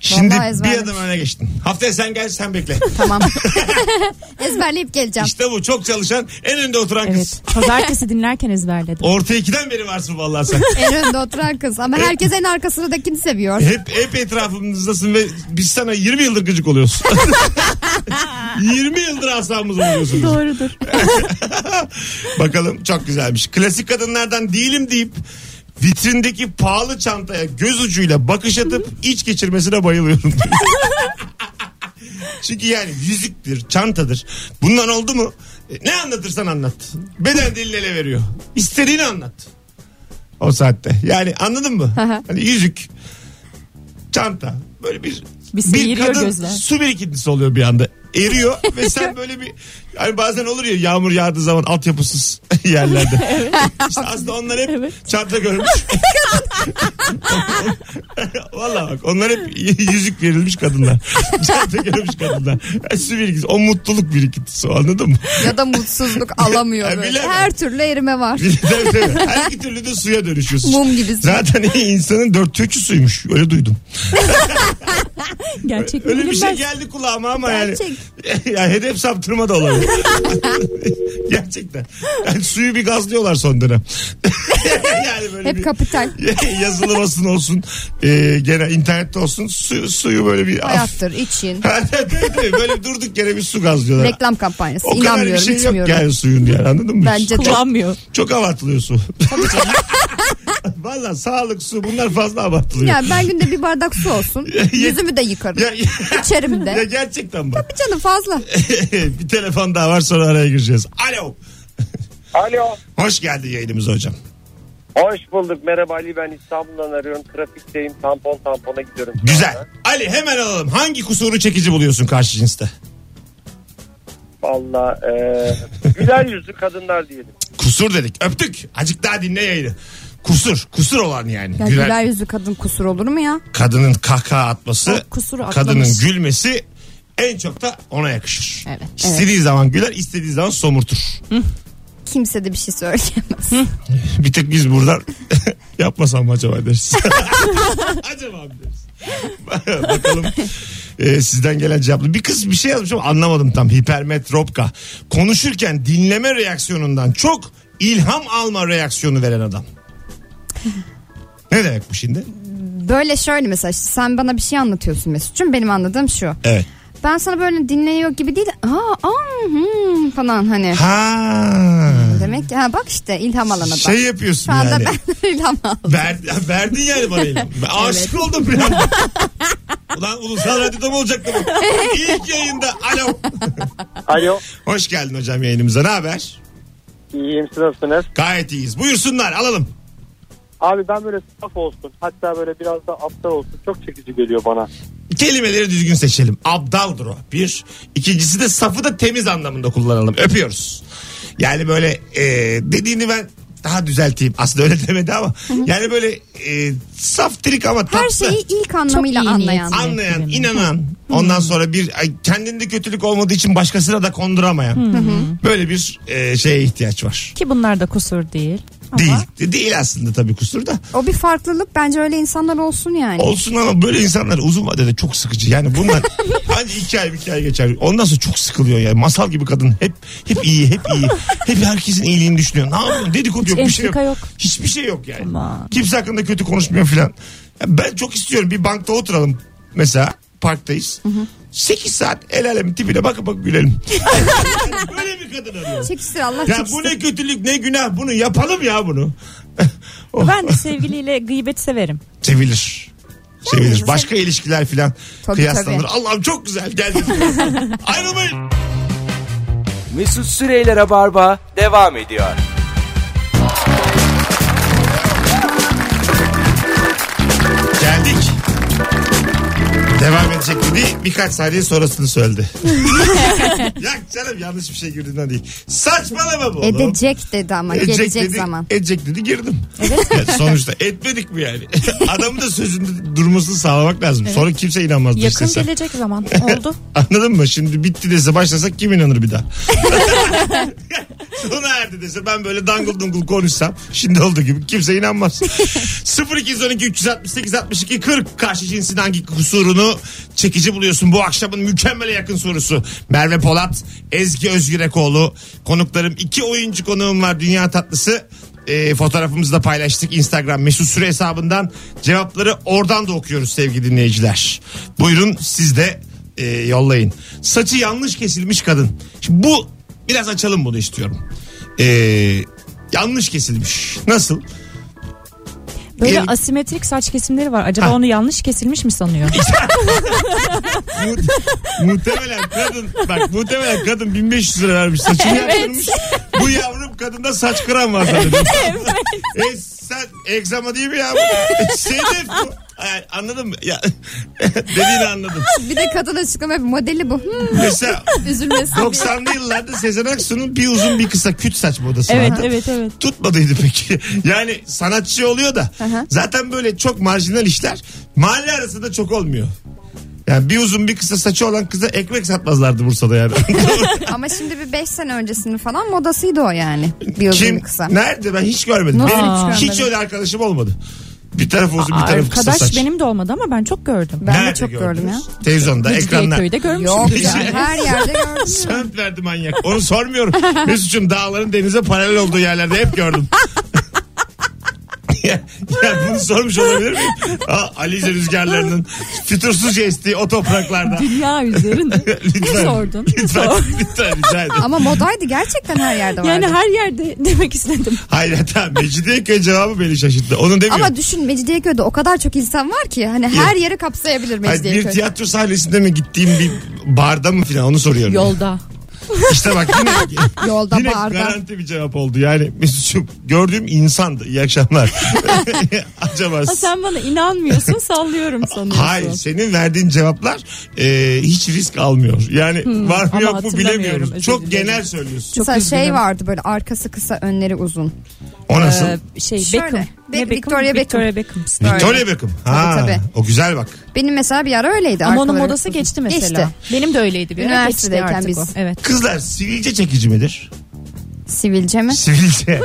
[SPEAKER 2] Şimdi bir
[SPEAKER 3] ezberlemiş.
[SPEAKER 2] adım öne geçtin. Haftaya sen gel sen bekle.
[SPEAKER 3] tamam. Ezberleyip geleceğim.
[SPEAKER 2] işte bu çok çalışan en önde oturan kız.
[SPEAKER 6] Evet. Pazartesi dinlerken ezberledim.
[SPEAKER 2] Orta ikiden beri varsın vallahi sen.
[SPEAKER 3] En önde oturan kız. Ama herkes en arka sıradakini seviyor.
[SPEAKER 2] hep, hep etrafımızdasın ve biz sana 20 yıldır gıcık oluyoruz. 20 yıldır asamız oluyorsun. bizim.
[SPEAKER 6] Doğrudur.
[SPEAKER 2] Bakalım çok güzelmiş. Klasik kadınlardan değilim deyip vitrindeki pahalı çantaya göz ucuyla bakış atıp iç geçirmesine bayılıyorum. Çünkü yani yüzüktür, çantadır. Bundan oldu mu? E, Ne anlatırsan anlat. Beden diline ele veriyor. İstediğini anlat. O saatte. Yani anladın mı? hani yüzük, çanta. Böyle bir
[SPEAKER 6] Bir sıyırıyor gözler.
[SPEAKER 2] su birikintisi oluyor bir anda. eriyor ve sen böyle bir hani bazen olur ya yağmur yağdığı zaman altyapısız yerlerde. İşte aslında onlar hep çanta görmüş. Valla bak onlar hep yüzük verilmiş kadınlar. Çanta görmüş kadınlar. Yani su birikintisi. O mutluluk birikintisi o, anladın mı?
[SPEAKER 3] Ya da mutsuzluk alamıyor
[SPEAKER 2] Ya
[SPEAKER 3] böyle.
[SPEAKER 2] bilemem.
[SPEAKER 3] Her türlü erime var.
[SPEAKER 2] Tabii, tabii. Her iki türlü de suya dönüşüyorsun.
[SPEAKER 3] Mum gibisin.
[SPEAKER 2] Zaten insanın dörtte üçü suymuş. Öyle duydum.
[SPEAKER 4] Gerçek mi
[SPEAKER 2] Öyle bir şey
[SPEAKER 4] bilinmez.
[SPEAKER 2] geldi kulağıma ama
[SPEAKER 3] Gerçek.
[SPEAKER 2] yani. ya hedef saptırma da olabilir. Gerçekten. Yani suyu bir gazlıyorlar son dönem. yani böyle
[SPEAKER 3] Hep
[SPEAKER 2] bir
[SPEAKER 3] kapital.
[SPEAKER 2] yazılı basın olsun. E, gene internette olsun. Su, suyu böyle bir...
[SPEAKER 3] Hayattır, için.
[SPEAKER 2] Tabii, tabii. böyle durduk yere bir su gazlıyorlar.
[SPEAKER 3] Reklam kampanyası.
[SPEAKER 2] o kadar bir
[SPEAKER 3] İnanmıyorum,
[SPEAKER 2] şey yok
[SPEAKER 3] içmiyorum.
[SPEAKER 2] yani suyun yani anladın mı?
[SPEAKER 3] Bence de.
[SPEAKER 4] Kullanmıyor.
[SPEAKER 2] Çok abartılıyor su. Valla sağlık su bunlar fazla abartılıyor.
[SPEAKER 3] Ya ben günde bir bardak su olsun. Yüzümü de yıkarım.
[SPEAKER 2] Ya,
[SPEAKER 3] İçerim
[SPEAKER 2] ya
[SPEAKER 3] de.
[SPEAKER 2] gerçekten bak.
[SPEAKER 3] Canım fazla.
[SPEAKER 2] bir telefon daha var sonra araya gireceğiz. Alo.
[SPEAKER 7] Alo.
[SPEAKER 2] Hoş geldin yayınımıza hocam.
[SPEAKER 7] Hoş bulduk. Merhaba Ali ben İstanbul'dan arıyorum. Trafikteyim. Tampon tampona gidiyorum. şu
[SPEAKER 2] Güzel.
[SPEAKER 7] anda.
[SPEAKER 2] Ali hemen alalım. Hangi kusuru çekici buluyorsun karşı cinste?
[SPEAKER 7] Valla e, güler yüzlü kadınlar diyelim.
[SPEAKER 2] Kusur dedik. Öptük. Acık daha dinle yayını. Kusur. Kusur olan yani.
[SPEAKER 3] Ya
[SPEAKER 2] Güler-
[SPEAKER 3] güler yüzlü kadın kusur olur mu ya?
[SPEAKER 2] Kadının kahkaha atması,
[SPEAKER 6] O kusuru atlamış.
[SPEAKER 2] kadının gülmesi en çok da ona yakışır.
[SPEAKER 6] Evet,
[SPEAKER 2] İstediği zaman güler, istediği zaman somurtur.
[SPEAKER 3] Kimse de bir şey söyleyemez.
[SPEAKER 2] Bir tek biz buradan yapmasam mı acaba deriz. acaba mı deriz. Bakalım e, sizden gelen cevaplı. Bir kız bir şey yazmış ama anlamadım tam. Hipermetropka. Konuşurken dinleme reaksiyonundan çok ilham alma reaksiyonu veren adam. ne demek bu şimdi?
[SPEAKER 3] Böyle şöyle mesela işte sen bana bir şey anlatıyorsun Mesut'cum. Benim anladığım şu.
[SPEAKER 2] Evet.
[SPEAKER 3] Ben sana böyle dinleniyor gibi değil. Aa, aa hmm, falan hani.
[SPEAKER 2] Ha.
[SPEAKER 3] Demek ki ha bak işte ilham alana bak.
[SPEAKER 2] Şey yapıyorsun
[SPEAKER 3] Şu anda
[SPEAKER 2] yani.
[SPEAKER 3] ben ilham aldım.
[SPEAKER 2] Ver, verdin yani bana ilham. Ben aşık oldum bir anda. Ulan ulusal radyoda mı olacaktı bu? İlk yayında. Alo.
[SPEAKER 5] Alo.
[SPEAKER 2] Hoş geldin hocam yayınımıza. Ne haber?
[SPEAKER 5] İyiyim siz nasılsınız?
[SPEAKER 2] Gayet iyiyiz. Buyursunlar alalım.
[SPEAKER 5] Abi ben böyle saf olsun. Hatta böyle biraz da aptal olsun. Çok çekici geliyor bana.
[SPEAKER 2] Kelimeleri düzgün seçelim. Abdaldır o. Bir. İkincisi de safı da temiz anlamında kullanalım. Öpüyoruz. Yani böyle e, dediğini ben daha düzelteyim. Aslında öyle demedi ama. Yani böyle e, saf trik ama tatlı.
[SPEAKER 3] Her şeyi ilk anlamıyla
[SPEAKER 6] iyi niyetli.
[SPEAKER 3] anlayan.
[SPEAKER 2] Anlayan, inanan. Ondan sonra bir ay, kendinde kötülük olmadığı için başkasına da konduramayan. Böyle bir e, şeye ihtiyaç var.
[SPEAKER 4] Ki bunlar da kusur değil. Ama
[SPEAKER 2] Değil. Değil aslında tabii kusur da.
[SPEAKER 3] O bir farklılık bence öyle insanlar olsun yani.
[SPEAKER 2] Olsun ama böyle insanlar uzun vadede çok sıkıcı. Yani bunlar hani iki ay iki ay geçer. Ondan sonra çok sıkılıyor yani. Masal gibi kadın hep hep iyi hep iyi. Hep herkesin iyiliğini düşünüyor. Ne yapıyorsun? Dedikodu yok bir şey yok.
[SPEAKER 4] entrika yok.
[SPEAKER 2] Hiçbir şey yok yani.
[SPEAKER 4] Aman.
[SPEAKER 2] Kimse hakkında kötü konuşmuyor filan. Ya Ben çok istiyorum bir bankta oturalım mesela parktayız. 8 saat el alemin tipine bakıp bakıp gülelim. Yani böyle bir kadın arıyorum.
[SPEAKER 3] Çekiştir Allah
[SPEAKER 2] Ya bu ne kötülük ne günah bunu yapalım ya bunu. Oh.
[SPEAKER 4] Ben de sevgiliyle gıybet severim.
[SPEAKER 2] Sevilir. Sevilir. Başka ilişkiler filan
[SPEAKER 3] Tabii,
[SPEAKER 2] kıyaslanır.
[SPEAKER 3] tabii.
[SPEAKER 2] Allah'ım çok güzel geldi. Ayrılmayın.
[SPEAKER 1] Mesut Süreyler'e barba devam ediyor.
[SPEAKER 2] Geldik. Devam edecek gibi birkaç saniye sonrasını söyledi. ya canım yanlış bir şey girdiğinden değil. Saçmalama bu oğlum.
[SPEAKER 3] Edecek dedi ama gelecek
[SPEAKER 2] dedi,
[SPEAKER 3] zaman.
[SPEAKER 2] Edecek dedi girdim. Ya sonuçta etmedik mi yani? Adamın da sözünde durmasını sağlamak lazım. Sonra kimse inanmaz.
[SPEAKER 6] Yakın
[SPEAKER 2] dışlasa.
[SPEAKER 6] gelecek zaman oldu.
[SPEAKER 2] Anladın mı? Şimdi bitti dese başlasak kim inanır bir daha? Sona erdi dese ben böyle dangıl dungul konuşsam şimdi olduğu gibi kimse inanmaz. 0212 368 62 40 karşı cinsin hangi kusurunu çekici buluyorsun bu akşamın mükemmele yakın sorusu. Merve Polat, Ezgi Özgürekoğlu konuklarım iki oyuncu konuğum var dünya tatlısı. E, fotoğrafımızı da paylaştık Instagram mesut süre hesabından cevapları oradan da okuyoruz sevgili dinleyiciler. Buyurun siz de e, yollayın. Saçı yanlış kesilmiş kadın. Şimdi bu biraz açalım bunu istiyorum. E, yanlış kesilmiş. Nasıl?
[SPEAKER 4] Böyle
[SPEAKER 2] Diyelim-
[SPEAKER 4] asimetrik saç kesimleri var. Acaba
[SPEAKER 2] Ha.
[SPEAKER 4] onu yanlış kesilmiş mi sanıyor?
[SPEAKER 2] Mu- muhtemelen kadın bak muhtemelen kadın 1500 lira vermiş saçını yaptırmış. Bu yavrum kadında saç kıran var zaten. E sen egzama değil mi ya? bu? E, Sedef bu. Ay, Anladın mı? Ya, dediğini anladım.
[SPEAKER 3] Bir de kadın açıklama yapıyor. Modeli bu. Hmm,
[SPEAKER 2] Mesela
[SPEAKER 6] Üzülmesin.
[SPEAKER 2] 90'lı yıllarda Sezen Aksu'nun bir uzun bir kısa küt saç modası
[SPEAKER 4] Evet
[SPEAKER 2] vardı.
[SPEAKER 4] evet evet.
[SPEAKER 2] tutmadıydı peki. Yani sanatçı oluyor da zaten böyle çok marjinal işler mahalle arasında çok olmuyor. Yani bir uzun bir kısa saçı olan kıza ekmek satmazlardı Bursa'da yani.
[SPEAKER 3] Ama şimdi bir 5 sene öncesinin falan modasıydı o yani. Bir uzun
[SPEAKER 2] Kim?
[SPEAKER 3] bir kısa.
[SPEAKER 2] Nerede ben hiç görmedim.
[SPEAKER 4] Nasıl
[SPEAKER 2] Benim
[SPEAKER 4] hiç
[SPEAKER 2] hiç,
[SPEAKER 4] görmedin?
[SPEAKER 2] öyle arkadaşım olmadı. Bir taraf uzun bir
[SPEAKER 4] Aa,
[SPEAKER 2] taraf kısa
[SPEAKER 4] arkadaş
[SPEAKER 2] saç.
[SPEAKER 4] benim de olmadı ama ben çok gördüm.
[SPEAKER 3] Ben
[SPEAKER 2] Nerede
[SPEAKER 3] de çok gördüm ya.
[SPEAKER 2] gördünüz? Televizyonda, ekranda.
[SPEAKER 4] Köyde görmüşüm.
[SPEAKER 3] Yok
[SPEAKER 2] Bizim-
[SPEAKER 3] yani her yerde gördüm.
[SPEAKER 2] Sönt verdi manyak. Onu sormuyorum. Mesut'cum dağların denize paralel olduğu yerlerde hep gördüm. ya, ya bunu sormuş olabilir miyim? Aa, Alize rüzgarlarının fütursuzca estiği o topraklarda.
[SPEAKER 4] Dünya üzerinde.
[SPEAKER 2] lütfen.
[SPEAKER 4] Ne sordun?
[SPEAKER 2] Lütfen, lütfen rica ederim.
[SPEAKER 3] Ama modaydı gerçekten her yerde vardı.
[SPEAKER 4] Yani her yerde demek istedim.
[SPEAKER 2] Hayret ha Mecidiyeköy cevabı beni şaşırttı. Onu demiyor.
[SPEAKER 3] Ama düşün Mecidiyeköy'de o kadar çok insan var ki hani her yeri kapsayabilir
[SPEAKER 2] Hayır, bir
[SPEAKER 3] Mecidiyeköy.
[SPEAKER 2] tiyatro sahnesinde mi gittiğim bir barda mı filan onu soruyorum.
[SPEAKER 4] Yolda.
[SPEAKER 2] İşte bak yine,
[SPEAKER 3] Yolda
[SPEAKER 2] yine
[SPEAKER 3] barda.
[SPEAKER 2] garanti bir cevap oldu. Yani Mesut'cum gördüğüm insandı. İyi akşamlar. Acaba
[SPEAKER 4] Ha, sen bana inanmıyorsun sallıyorum sanıyorsun.
[SPEAKER 2] Hayır senin verdiğin cevaplar e, hiç risk almıyor. Yani var mı
[SPEAKER 4] ama
[SPEAKER 2] yok mu
[SPEAKER 4] hatırlamıyorum,
[SPEAKER 2] bilemiyoruz.
[SPEAKER 4] özür
[SPEAKER 2] Çok
[SPEAKER 4] dilerim.
[SPEAKER 2] genel söylüyorsun.
[SPEAKER 4] Çok
[SPEAKER 3] Mesela şey
[SPEAKER 4] üzgünüm.
[SPEAKER 3] vardı böyle arkası kısa önleri uzun.
[SPEAKER 2] O nasıl?
[SPEAKER 4] Ee, şey
[SPEAKER 3] Şöyle,
[SPEAKER 4] Beckham.
[SPEAKER 3] Be-
[SPEAKER 4] Ne Beckham?
[SPEAKER 3] Victoria Beckham.
[SPEAKER 4] Victoria Beckham'sın.
[SPEAKER 2] Victoria Beckham. Ha,
[SPEAKER 3] tabii.
[SPEAKER 2] O güzel bak.
[SPEAKER 3] Benim mesela bir ara öyleydi.
[SPEAKER 6] Ama onun
[SPEAKER 3] arkaları
[SPEAKER 6] modası
[SPEAKER 3] uzun.
[SPEAKER 6] geçti mesela.
[SPEAKER 3] Geçti.
[SPEAKER 6] Benim de öyleydi bir ara.
[SPEAKER 3] Üniversitedeyken
[SPEAKER 6] Geçti artık
[SPEAKER 3] biz.
[SPEAKER 6] o. Evet.
[SPEAKER 2] Kızlar sivilce çekici midir?
[SPEAKER 3] Sivilce mi?
[SPEAKER 2] Sivilce.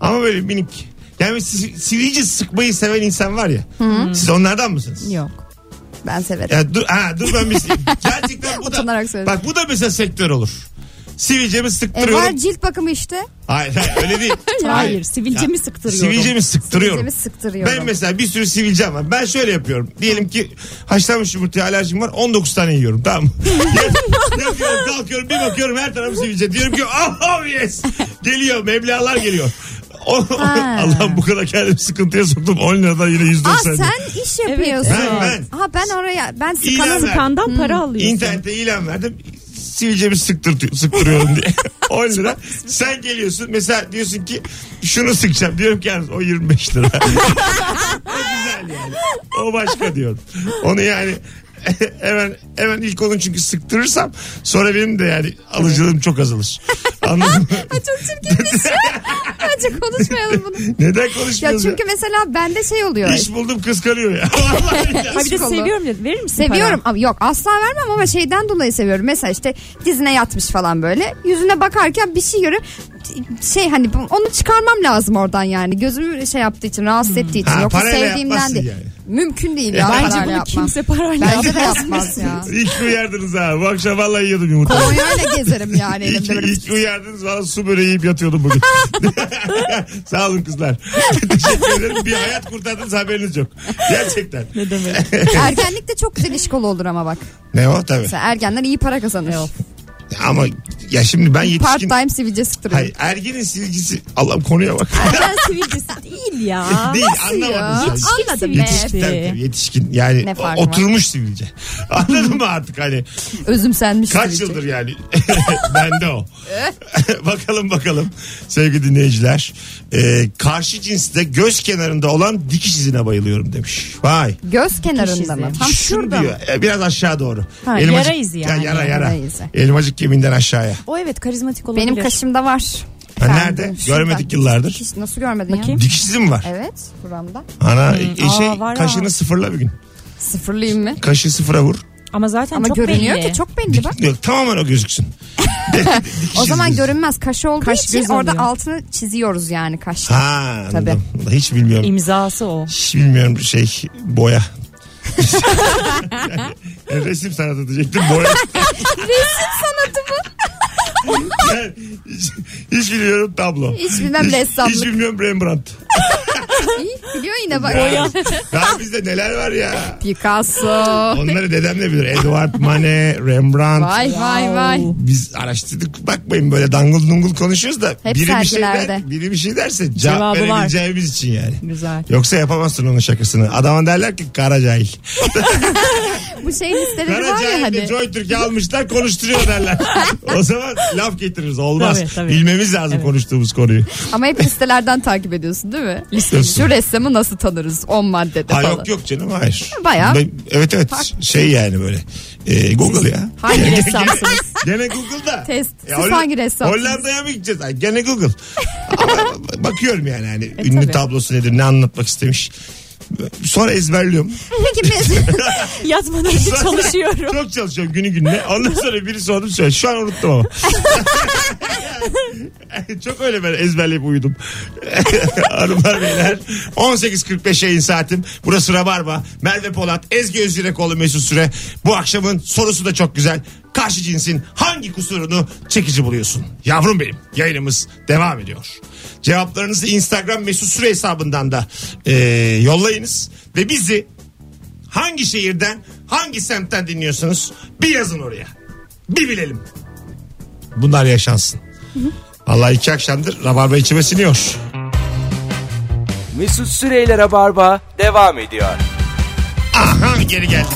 [SPEAKER 2] Ama böyle minik. Yani si- sivilce sıkmayı seven insan var ya. Siz onlardan mısınız?
[SPEAKER 6] Yok.
[SPEAKER 3] Ben severim.
[SPEAKER 2] Ya dur, ha, dur ben bir Gerçekten bu da.
[SPEAKER 3] Utanarak söyledim.
[SPEAKER 2] Bak bu da mesela sektör olur. Sivilcemi
[SPEAKER 3] E,
[SPEAKER 2] sıktırıyorum.
[SPEAKER 3] var cilt bakımı işte.
[SPEAKER 2] hayır, hayır öyle değil.
[SPEAKER 4] Hayır sivilcemi sıktırıyorum.
[SPEAKER 2] Sivilcemi sıktırıyorum.
[SPEAKER 3] Sivilcemi sıktırıyorum.
[SPEAKER 2] Ben mesela bir sürü sivilcem var. Ben şöyle yapıyorum. Diyelim ki haşlanmış yumurtaya alerjim var. 19 tane yiyorum. Tamam mı? Ya- Yapıyorum kalkıyorum bir bakıyorum her tarafım sivilce. Diyorum ki oh yes. Geliyor meblalar geliyor. O- Allah'ım bu kadar kendimi sıkıntıya soktum. 10 liradan yine
[SPEAKER 3] Aa
[SPEAKER 2] 190.
[SPEAKER 3] sen iş yapıyorsun.
[SPEAKER 2] Ben, ben.
[SPEAKER 3] Ha ben oraya ben
[SPEAKER 2] İlan
[SPEAKER 3] sıkanı
[SPEAKER 2] ver.
[SPEAKER 4] Kandan para
[SPEAKER 3] Hmm.
[SPEAKER 4] alıyorsun.
[SPEAKER 2] İnternette ilan verdim. Sivilcemi sıktır, sıktırıyorum diye. 10 lira. Sen geliyorsun mesela diyorsun ki şunu sıkacağım. Diyorum ki yalnız o 25 lira. o güzel yani. O başka diyorum. Onu yani hemen hemen ilk onu çünkü sıktırırsam sonra benim de yani alıcılığım çok azalır. Anladın mı?
[SPEAKER 3] Bence konuşmayalım bunu.
[SPEAKER 2] Neden
[SPEAKER 3] Ya
[SPEAKER 2] konuşmuyoruz ya?
[SPEAKER 3] çünkü mesela bende şey oluyor.
[SPEAKER 2] İş buldum kıskanıyor ya. Vallahi ya.
[SPEAKER 4] Ha bir de
[SPEAKER 3] Kolu.
[SPEAKER 4] seviyorum dedi. Verir misin
[SPEAKER 3] Seviyorum ama yok asla vermem ama şeyden dolayı seviyorum. Mesela işte dizine yatmış falan böyle. Yüzüne bakarken bir şey görüp şey hani bu- onu çıkarmam lazım oradan yani. Gözümü şey yaptığı için rahatsız ettiği için.
[SPEAKER 2] Hmm. Ha,
[SPEAKER 3] Yoksa
[SPEAKER 2] parayla
[SPEAKER 3] sevdiğimden
[SPEAKER 2] yapmazsın
[SPEAKER 3] değil.
[SPEAKER 2] yani. E,
[SPEAKER 3] Mümkün değil ya.
[SPEAKER 4] Bence
[SPEAKER 3] parayla
[SPEAKER 4] bunu
[SPEAKER 3] yapmam.
[SPEAKER 4] kimse parayla
[SPEAKER 3] Bence de yapmaz ya.
[SPEAKER 2] İlk uyardınız ha. Bu akşam vallahi yiyordum yumurta.
[SPEAKER 3] Konya'yla gezerim yani
[SPEAKER 2] İyi ki,
[SPEAKER 3] elimde böyle.
[SPEAKER 2] iyi ki uyardınız valla su böreği yiyip yatıyordum bugün. Sağ olun kızlar. Teşekkür ederim. Bir hayat kurtardınız haberiniz yok. Gerçekten.
[SPEAKER 4] Ne demek?
[SPEAKER 3] Ergenlikte çok güzel iş kolu olur ama bak.
[SPEAKER 2] Ne o tabii.
[SPEAKER 3] Mesela ergenler iyi para kazanır.
[SPEAKER 2] Ama ya şimdi ben
[SPEAKER 3] Part
[SPEAKER 2] yetişkin...
[SPEAKER 3] time sivilce sıktırıyor.
[SPEAKER 2] Hayır, ergenin silgisi. Allah'ım konuya bak.
[SPEAKER 4] Ben sivilcesi değil ya.
[SPEAKER 2] Değil anlamadım. sen.
[SPEAKER 4] Anladım
[SPEAKER 2] Yetişkin, tabii, tabii, yetişkin yani
[SPEAKER 3] Ne farkı
[SPEAKER 2] o- oturmuş sivilce. Anladın mı artık hani
[SPEAKER 3] Özümsenmiş
[SPEAKER 2] kaç
[SPEAKER 3] sivilce.
[SPEAKER 2] yıldır yani bende o. bakalım bakalım sevgili dinleyiciler. Ee, karşı cinste göz kenarında olan dikiş izine bayılıyorum demiş. Vay.
[SPEAKER 3] Göz kenarında mı? Tam
[SPEAKER 2] Şunu
[SPEAKER 3] şurada mı?
[SPEAKER 2] diyor. e, Biraz aşağı doğru.
[SPEAKER 6] Ha,
[SPEAKER 2] Elmacık-
[SPEAKER 6] yara izi yani.
[SPEAKER 2] yara yara.
[SPEAKER 3] Yara izi.
[SPEAKER 2] Elmacık kemiğinden aşağıya.
[SPEAKER 6] O evet karizmatik olabilir.
[SPEAKER 3] Benim kaşımda var.
[SPEAKER 2] Ha,
[SPEAKER 3] Efendim,
[SPEAKER 2] nerede?
[SPEAKER 3] şurada.
[SPEAKER 2] Görmedik yıllardır.
[SPEAKER 3] Hiç nasıl görmedin ya?
[SPEAKER 2] Dikiş izi mi var?
[SPEAKER 3] Evet buramda.
[SPEAKER 2] Ana e, şey
[SPEAKER 6] Aa, var
[SPEAKER 2] kaşını
[SPEAKER 6] ha.
[SPEAKER 2] sıfırla bir gün.
[SPEAKER 3] Sıfırlayayım mı?
[SPEAKER 2] Kaşı sıfıra vur.
[SPEAKER 6] Ama zaten
[SPEAKER 3] Ama
[SPEAKER 6] çok
[SPEAKER 3] görünüyor
[SPEAKER 6] belli.
[SPEAKER 3] ki çok belli
[SPEAKER 2] Dik,
[SPEAKER 3] bak.
[SPEAKER 2] yok, tamamen o gözüksün. Dikiş
[SPEAKER 3] O zaman
[SPEAKER 2] izimiz.
[SPEAKER 3] görünmez kaşı olduğu
[SPEAKER 6] Kaş
[SPEAKER 3] için
[SPEAKER 6] göz
[SPEAKER 3] orada
[SPEAKER 6] oluyor.
[SPEAKER 3] altını çiziyoruz yani kaşla.
[SPEAKER 2] Ha,
[SPEAKER 3] Tabii.
[SPEAKER 2] anladım. Hiç bilmiyorum.
[SPEAKER 6] İmzası o.
[SPEAKER 2] Hiç bilmiyorum şey boya. Yani resim sanatı diyecektim boya. resim sanatı mı? hiç, hiç bilmiyorum tablo.
[SPEAKER 3] Hiç bilmem ressamlık.
[SPEAKER 2] Hiç bilmiyorum Rembrandt.
[SPEAKER 3] İyi, biliyor yine bak.
[SPEAKER 2] Daha bizde neler var ya.
[SPEAKER 3] Picasso.
[SPEAKER 2] Onları dedem de bilir. Edward Mane, Rembrandt.
[SPEAKER 3] Vay vay vay.
[SPEAKER 2] Biz araştırdık bakmayın böyle dangıl dungul konuşuyoruz da
[SPEAKER 3] Hep
[SPEAKER 2] biri bir, şey der,
[SPEAKER 3] sergilerde.
[SPEAKER 2] biri bir şey derse cevap
[SPEAKER 6] Cevabı var.
[SPEAKER 2] verebileceğimiz için yani.
[SPEAKER 6] Güzel.
[SPEAKER 2] Yoksa yapamazsın onun şakasını. Adama derler ki kara cahil.
[SPEAKER 3] Bu şey listeleri var ya
[SPEAKER 2] Karacahil'de
[SPEAKER 3] hani.
[SPEAKER 2] Joy Türk'ü almışlar konuşturuyor derler. o zaman laf getiririz. Olmaz.
[SPEAKER 6] Tabii, tabii.
[SPEAKER 2] Bilmemiz lazım konuştuğumuz konuyu.
[SPEAKER 3] Ama hep listelerden takip ediyorsun değil mi?
[SPEAKER 2] Listesi.
[SPEAKER 3] Şu resme adamı nasıl tanırız 10 maddede
[SPEAKER 2] Ha
[SPEAKER 3] falan.
[SPEAKER 2] yok yok canım hayır.
[SPEAKER 3] Bayağı.
[SPEAKER 2] Ben- evet evet şey yani böyle. Ee, Google ya.
[SPEAKER 3] Hangi ressamsınız?
[SPEAKER 2] Gene Google'da.
[SPEAKER 3] Test.
[SPEAKER 2] Ya
[SPEAKER 3] Siz
[SPEAKER 2] Holl-
[SPEAKER 3] hangi ressamsınız?
[SPEAKER 2] Hollanda'ya mı gideceğiz? Ay, gene Google. Ama bakıyorum yani hani ünlü
[SPEAKER 3] E, tabii.
[SPEAKER 2] tablosu nedir ne anlatmak istemiş. Sonra ezberliyorum.
[SPEAKER 3] Peki biz-
[SPEAKER 4] Yazmadan önce çalışıyorum.
[SPEAKER 2] Çok çalışıyorum günü gününe. Ondan sonra biri sordu söyle. Şu an unuttum ama. Çok öyle ben ezberleyip uyudum. Hanımlar beyler 18.45 yayın saatim. Burası Rabarba. Merve Polat, Ezgi Özgürekoğlu Mesut Süre. Bu akşamın sorusu da çok güzel. Karşı cinsin hangi kusurunu çekici buluyorsun? Yavrum benim yayınımız devam ediyor. Cevaplarınızı Instagram Mesut Süre hesabından da e, yollayınız. Ve bizi hangi şehirden hangi semtten dinliyorsunuz bir yazın oraya. Bir bilelim. Bunlar yaşansın. Allah iki akşamdır rabarba içime siniyor.
[SPEAKER 1] Mesut Süreyler'e barba devam ediyor.
[SPEAKER 2] Aha geri geldik.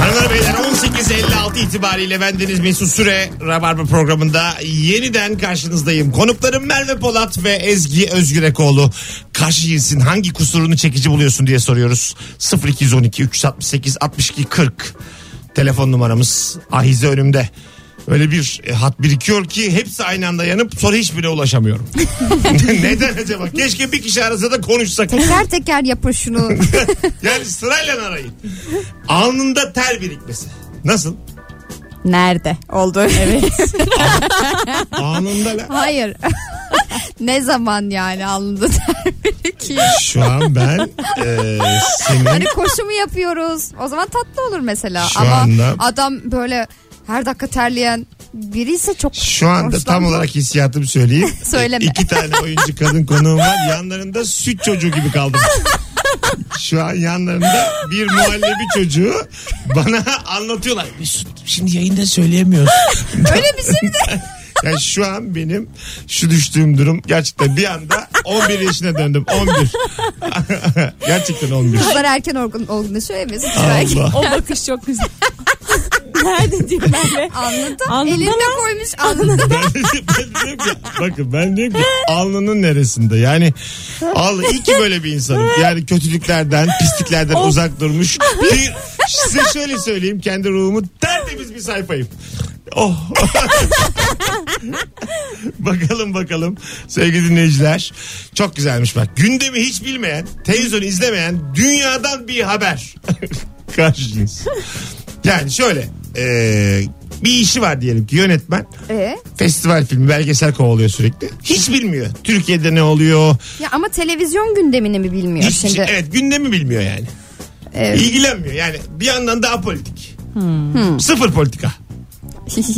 [SPEAKER 2] Hanımlar beyler 18.56 itibariyle bendeniz Mesut Süre Rabarba programında yeniden karşınızdayım. Konuklarım Merve Polat ve Ezgi Özgürekoğlu. Karşı cinsin hangi kusurunu çekici buluyorsun diye soruyoruz. 0212 368 62 40 telefon numaramız ahize önümde. Öyle bir e, hat birikiyor ki hepsi aynı anda yanıp sonra hiçbirine ulaşamıyorum. Neden acaba? Keşke bir kişi arasa da konuşsak.
[SPEAKER 3] teker teker yapın şunu.
[SPEAKER 2] Yani sırayla arayın. Alnında ter birikmesi. Nasıl?
[SPEAKER 3] Nerede? Oldu. Evet.
[SPEAKER 2] Alnında la.
[SPEAKER 3] Hayır. ne zaman yani alnında ter birikiyor?
[SPEAKER 2] Şu an ben e, senin
[SPEAKER 3] Hani koşu mu yapıyoruz? O zaman tatlı olur mesela.
[SPEAKER 2] Şu
[SPEAKER 3] Ama
[SPEAKER 2] anda-
[SPEAKER 3] adam böyle her dakika terleyen biri ise çok
[SPEAKER 2] şu anda tam
[SPEAKER 3] hoşlanmam.
[SPEAKER 2] olarak hissiyatımı söyleyeyim.
[SPEAKER 3] Söyleme.
[SPEAKER 2] İki tane oyuncu kadın konuğum var. Yanlarında süt çocuğu gibi kaldım. Şu an yanlarında bir muhallebi çocuğu bana anlatıyorlar. Mesut şimdi yayında söyleyemiyorsun.
[SPEAKER 3] Öyle bir şey mi de?
[SPEAKER 2] Yani şu an benim şu düştüğüm durum gerçekten bir anda 11 yaşına döndüm. 11. gerçekten 11.
[SPEAKER 3] Kızlar erken olgun, olgunlaşıyor ya Mesut. Belki
[SPEAKER 2] Allah.
[SPEAKER 4] O bakış çok güzel. Nerede diyor Merve?
[SPEAKER 3] alnında,
[SPEAKER 4] Alnında
[SPEAKER 3] elinde
[SPEAKER 4] mı?
[SPEAKER 3] koymuş alnında.
[SPEAKER 2] ben, ben diyorum ki, bakın ben diyorum ki alnının neresinde yani al iyi ki böyle bir insanım yani kötülüklerden pisliklerden uzak durmuş bir size şöyle söyleyeyim kendi ruhumu tertemiz bir sayfayım oh bakalım bakalım sevgili dinleyiciler çok güzelmiş bak gündemi hiç bilmeyen televizyon izlemeyen dünyadan bir haber karşı cins yani şöyle eee, bir işi var diyelim ki yönetmen
[SPEAKER 3] Ee?
[SPEAKER 2] festival filmi belgesel kovalıyor sürekli. Hiç bilmiyor. Türkiye'de ne oluyor?
[SPEAKER 3] Ya ama televizyon gündemini mi bilmiyor
[SPEAKER 2] Hiç, şey-
[SPEAKER 3] şimdi?
[SPEAKER 2] Evet gündemi bilmiyor yani.
[SPEAKER 3] Evet.
[SPEAKER 2] İlgilenmiyor yani. Bir yandan daha politik. Sıfır politika.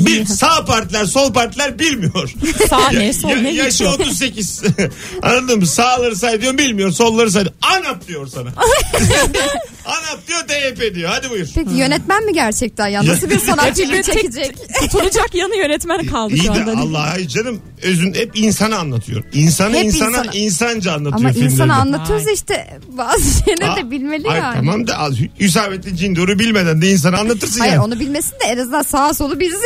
[SPEAKER 2] e, Bir sağ partiler sol partiler bilmiyor.
[SPEAKER 4] Sağ ne sol
[SPEAKER 2] Ya-
[SPEAKER 4] ne
[SPEAKER 2] yaşı
[SPEAKER 4] geçiyor?
[SPEAKER 2] 38. Anladın mı? Sağları say diyor bilmiyor. Solları say diyor. ANAP diyor sana. ANAP diyor TYP diyor. Hadi buyur.
[SPEAKER 3] Peki yönetmen mi gerçekten ya? Nasıl bir sanatçıyı
[SPEAKER 4] Gerçekten tek-
[SPEAKER 3] çekecek?
[SPEAKER 4] Tutunacak yanı yönetmen kaldı
[SPEAKER 2] İyi
[SPEAKER 4] şu
[SPEAKER 2] de
[SPEAKER 4] anda.
[SPEAKER 2] Allah hayır canım özün hep insanı anlatıyor. İnsanı
[SPEAKER 3] Hep
[SPEAKER 2] insana,
[SPEAKER 3] insana.
[SPEAKER 2] insanca anlatıyor
[SPEAKER 3] Ama
[SPEAKER 2] filmlerde.
[SPEAKER 3] insana anlatıyoruz ya işte bazı şeyleri
[SPEAKER 2] Aa,
[SPEAKER 3] de bilmeli
[SPEAKER 2] ay
[SPEAKER 3] yani.
[SPEAKER 2] Tamam da az- Hüsamettin Cindor'u bilmeden de insana anlatırsın
[SPEAKER 3] Hayır
[SPEAKER 2] yani.
[SPEAKER 3] onu bilmesin de en azından sağa solu bilsin.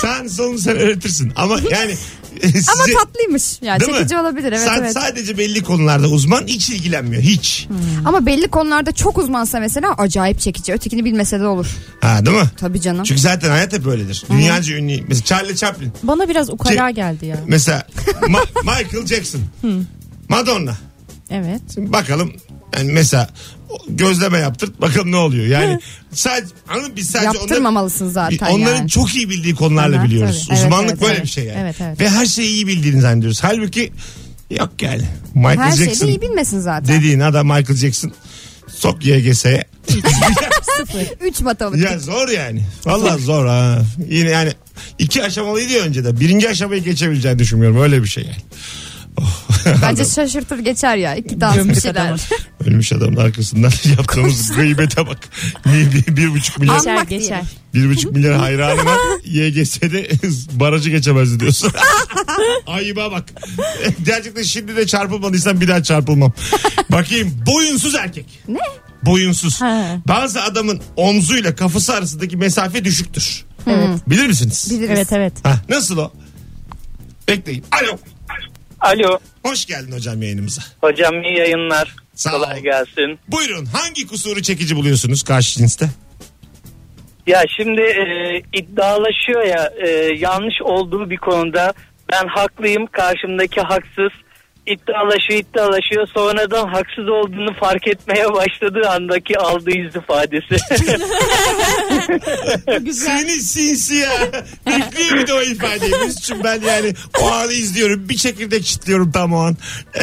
[SPEAKER 2] Sen sonunu sen öğretirsin. Ama yani... e,
[SPEAKER 3] Ama
[SPEAKER 2] size-
[SPEAKER 3] tatlıymış. Yani
[SPEAKER 2] Değil mi?
[SPEAKER 3] çekici olabilir evet
[SPEAKER 2] Sen
[SPEAKER 3] evet. Hmm.
[SPEAKER 2] sadece belli konularda uzman hiç ilgilenmiyor. Hiç.
[SPEAKER 3] Ama belli konularda çok uzmansa mesela acayip çekici. Ötekini bilmese de olur.
[SPEAKER 2] Ha değil mi?
[SPEAKER 3] Tabii canım.
[SPEAKER 2] Çünkü zaten hayat hep öyledir. Dünyaca ünlü. Mesela Charlie Chaplin.
[SPEAKER 6] Bana biraz ukala geldi ya.
[SPEAKER 2] Mesela Ma- Michael Jackson. Madonna.
[SPEAKER 6] Evet.
[SPEAKER 2] Şimdi bakalım yani mesela o- gözleme yaptırt bakalım ne oluyor. Yani sadece anladın mı? biz sadece onları-
[SPEAKER 3] Yaptırmamalısın zaten
[SPEAKER 2] Onların
[SPEAKER 3] yani.
[SPEAKER 2] çok iyi bildiği konularla
[SPEAKER 6] Onlar,
[SPEAKER 2] biliyoruz.
[SPEAKER 6] tabii. Evet,
[SPEAKER 2] Uzmanlık
[SPEAKER 6] evet,
[SPEAKER 2] böyle
[SPEAKER 6] evet.
[SPEAKER 2] bir şey yani.
[SPEAKER 6] Evet, evet.
[SPEAKER 2] Ve her şeyi iyi bildiğini zannediyoruz. Halbuki yok yani. Michael
[SPEAKER 3] Her şeyi
[SPEAKER 2] Jackson
[SPEAKER 3] de iyi bilmesin zaten.
[SPEAKER 2] dediğin adam Michael Jackson sok YGS'ye.
[SPEAKER 3] Üç matematik.
[SPEAKER 2] ya zor yani. Valla zor ha. Yine yani iki aşamalıydı ya önce de. Birinci aşamayı geçebileceğini düşünmüyorum. Öyle bir şey yani. Oh.
[SPEAKER 3] Bence şaşırtır geçer ya. İki dans bir şeyler.
[SPEAKER 2] Ölmüş adamın arkasından yaptığımız gıybete bak. Bir, bir, bir buçuk milyar,
[SPEAKER 3] Anmak
[SPEAKER 6] geçer.
[SPEAKER 3] diyelim.
[SPEAKER 2] bir buçuk milyar hayranı var. YGS'de barajı geçemezdi diyorsun. Ayıba bak. Gerçekten şimdi de çarpılmadıysan bir daha çarpılmam. Bakayım boyunsuz erkek. Ne? Boyunsuz.
[SPEAKER 6] Ha.
[SPEAKER 2] Bazı adamın omzuyla kafası arasındaki mesafe düşüktür. Bilir misiniz?
[SPEAKER 3] Biliriz.
[SPEAKER 6] Evet evet.
[SPEAKER 2] Ha, nasıl o? Bekleyin. Alo.
[SPEAKER 8] Alo.
[SPEAKER 2] Hoş geldin hocam yayınımıza.
[SPEAKER 8] Hocam iyi yayınlar.
[SPEAKER 2] Sağ ol.
[SPEAKER 8] Kolay gelsin.
[SPEAKER 2] Buyurun hangi kusuru çekici buluyorsunuz karşı cinste?
[SPEAKER 8] Ya şimdi e, iddialaşıyor ya e, yanlış olduğu bir konuda ben haklıyım karşımdaki haksız iddialaşıyor iddialaşıyor sonradan haksız olduğunu fark etmeye başladığı andaki aldığı yüz ifadesi.
[SPEAKER 2] Seni sinsi ya. Bekleyeyim bir de o ifadeyi. Müslüm ben yani o anı izliyorum. Bir çekirdek çitliyorum tam o an.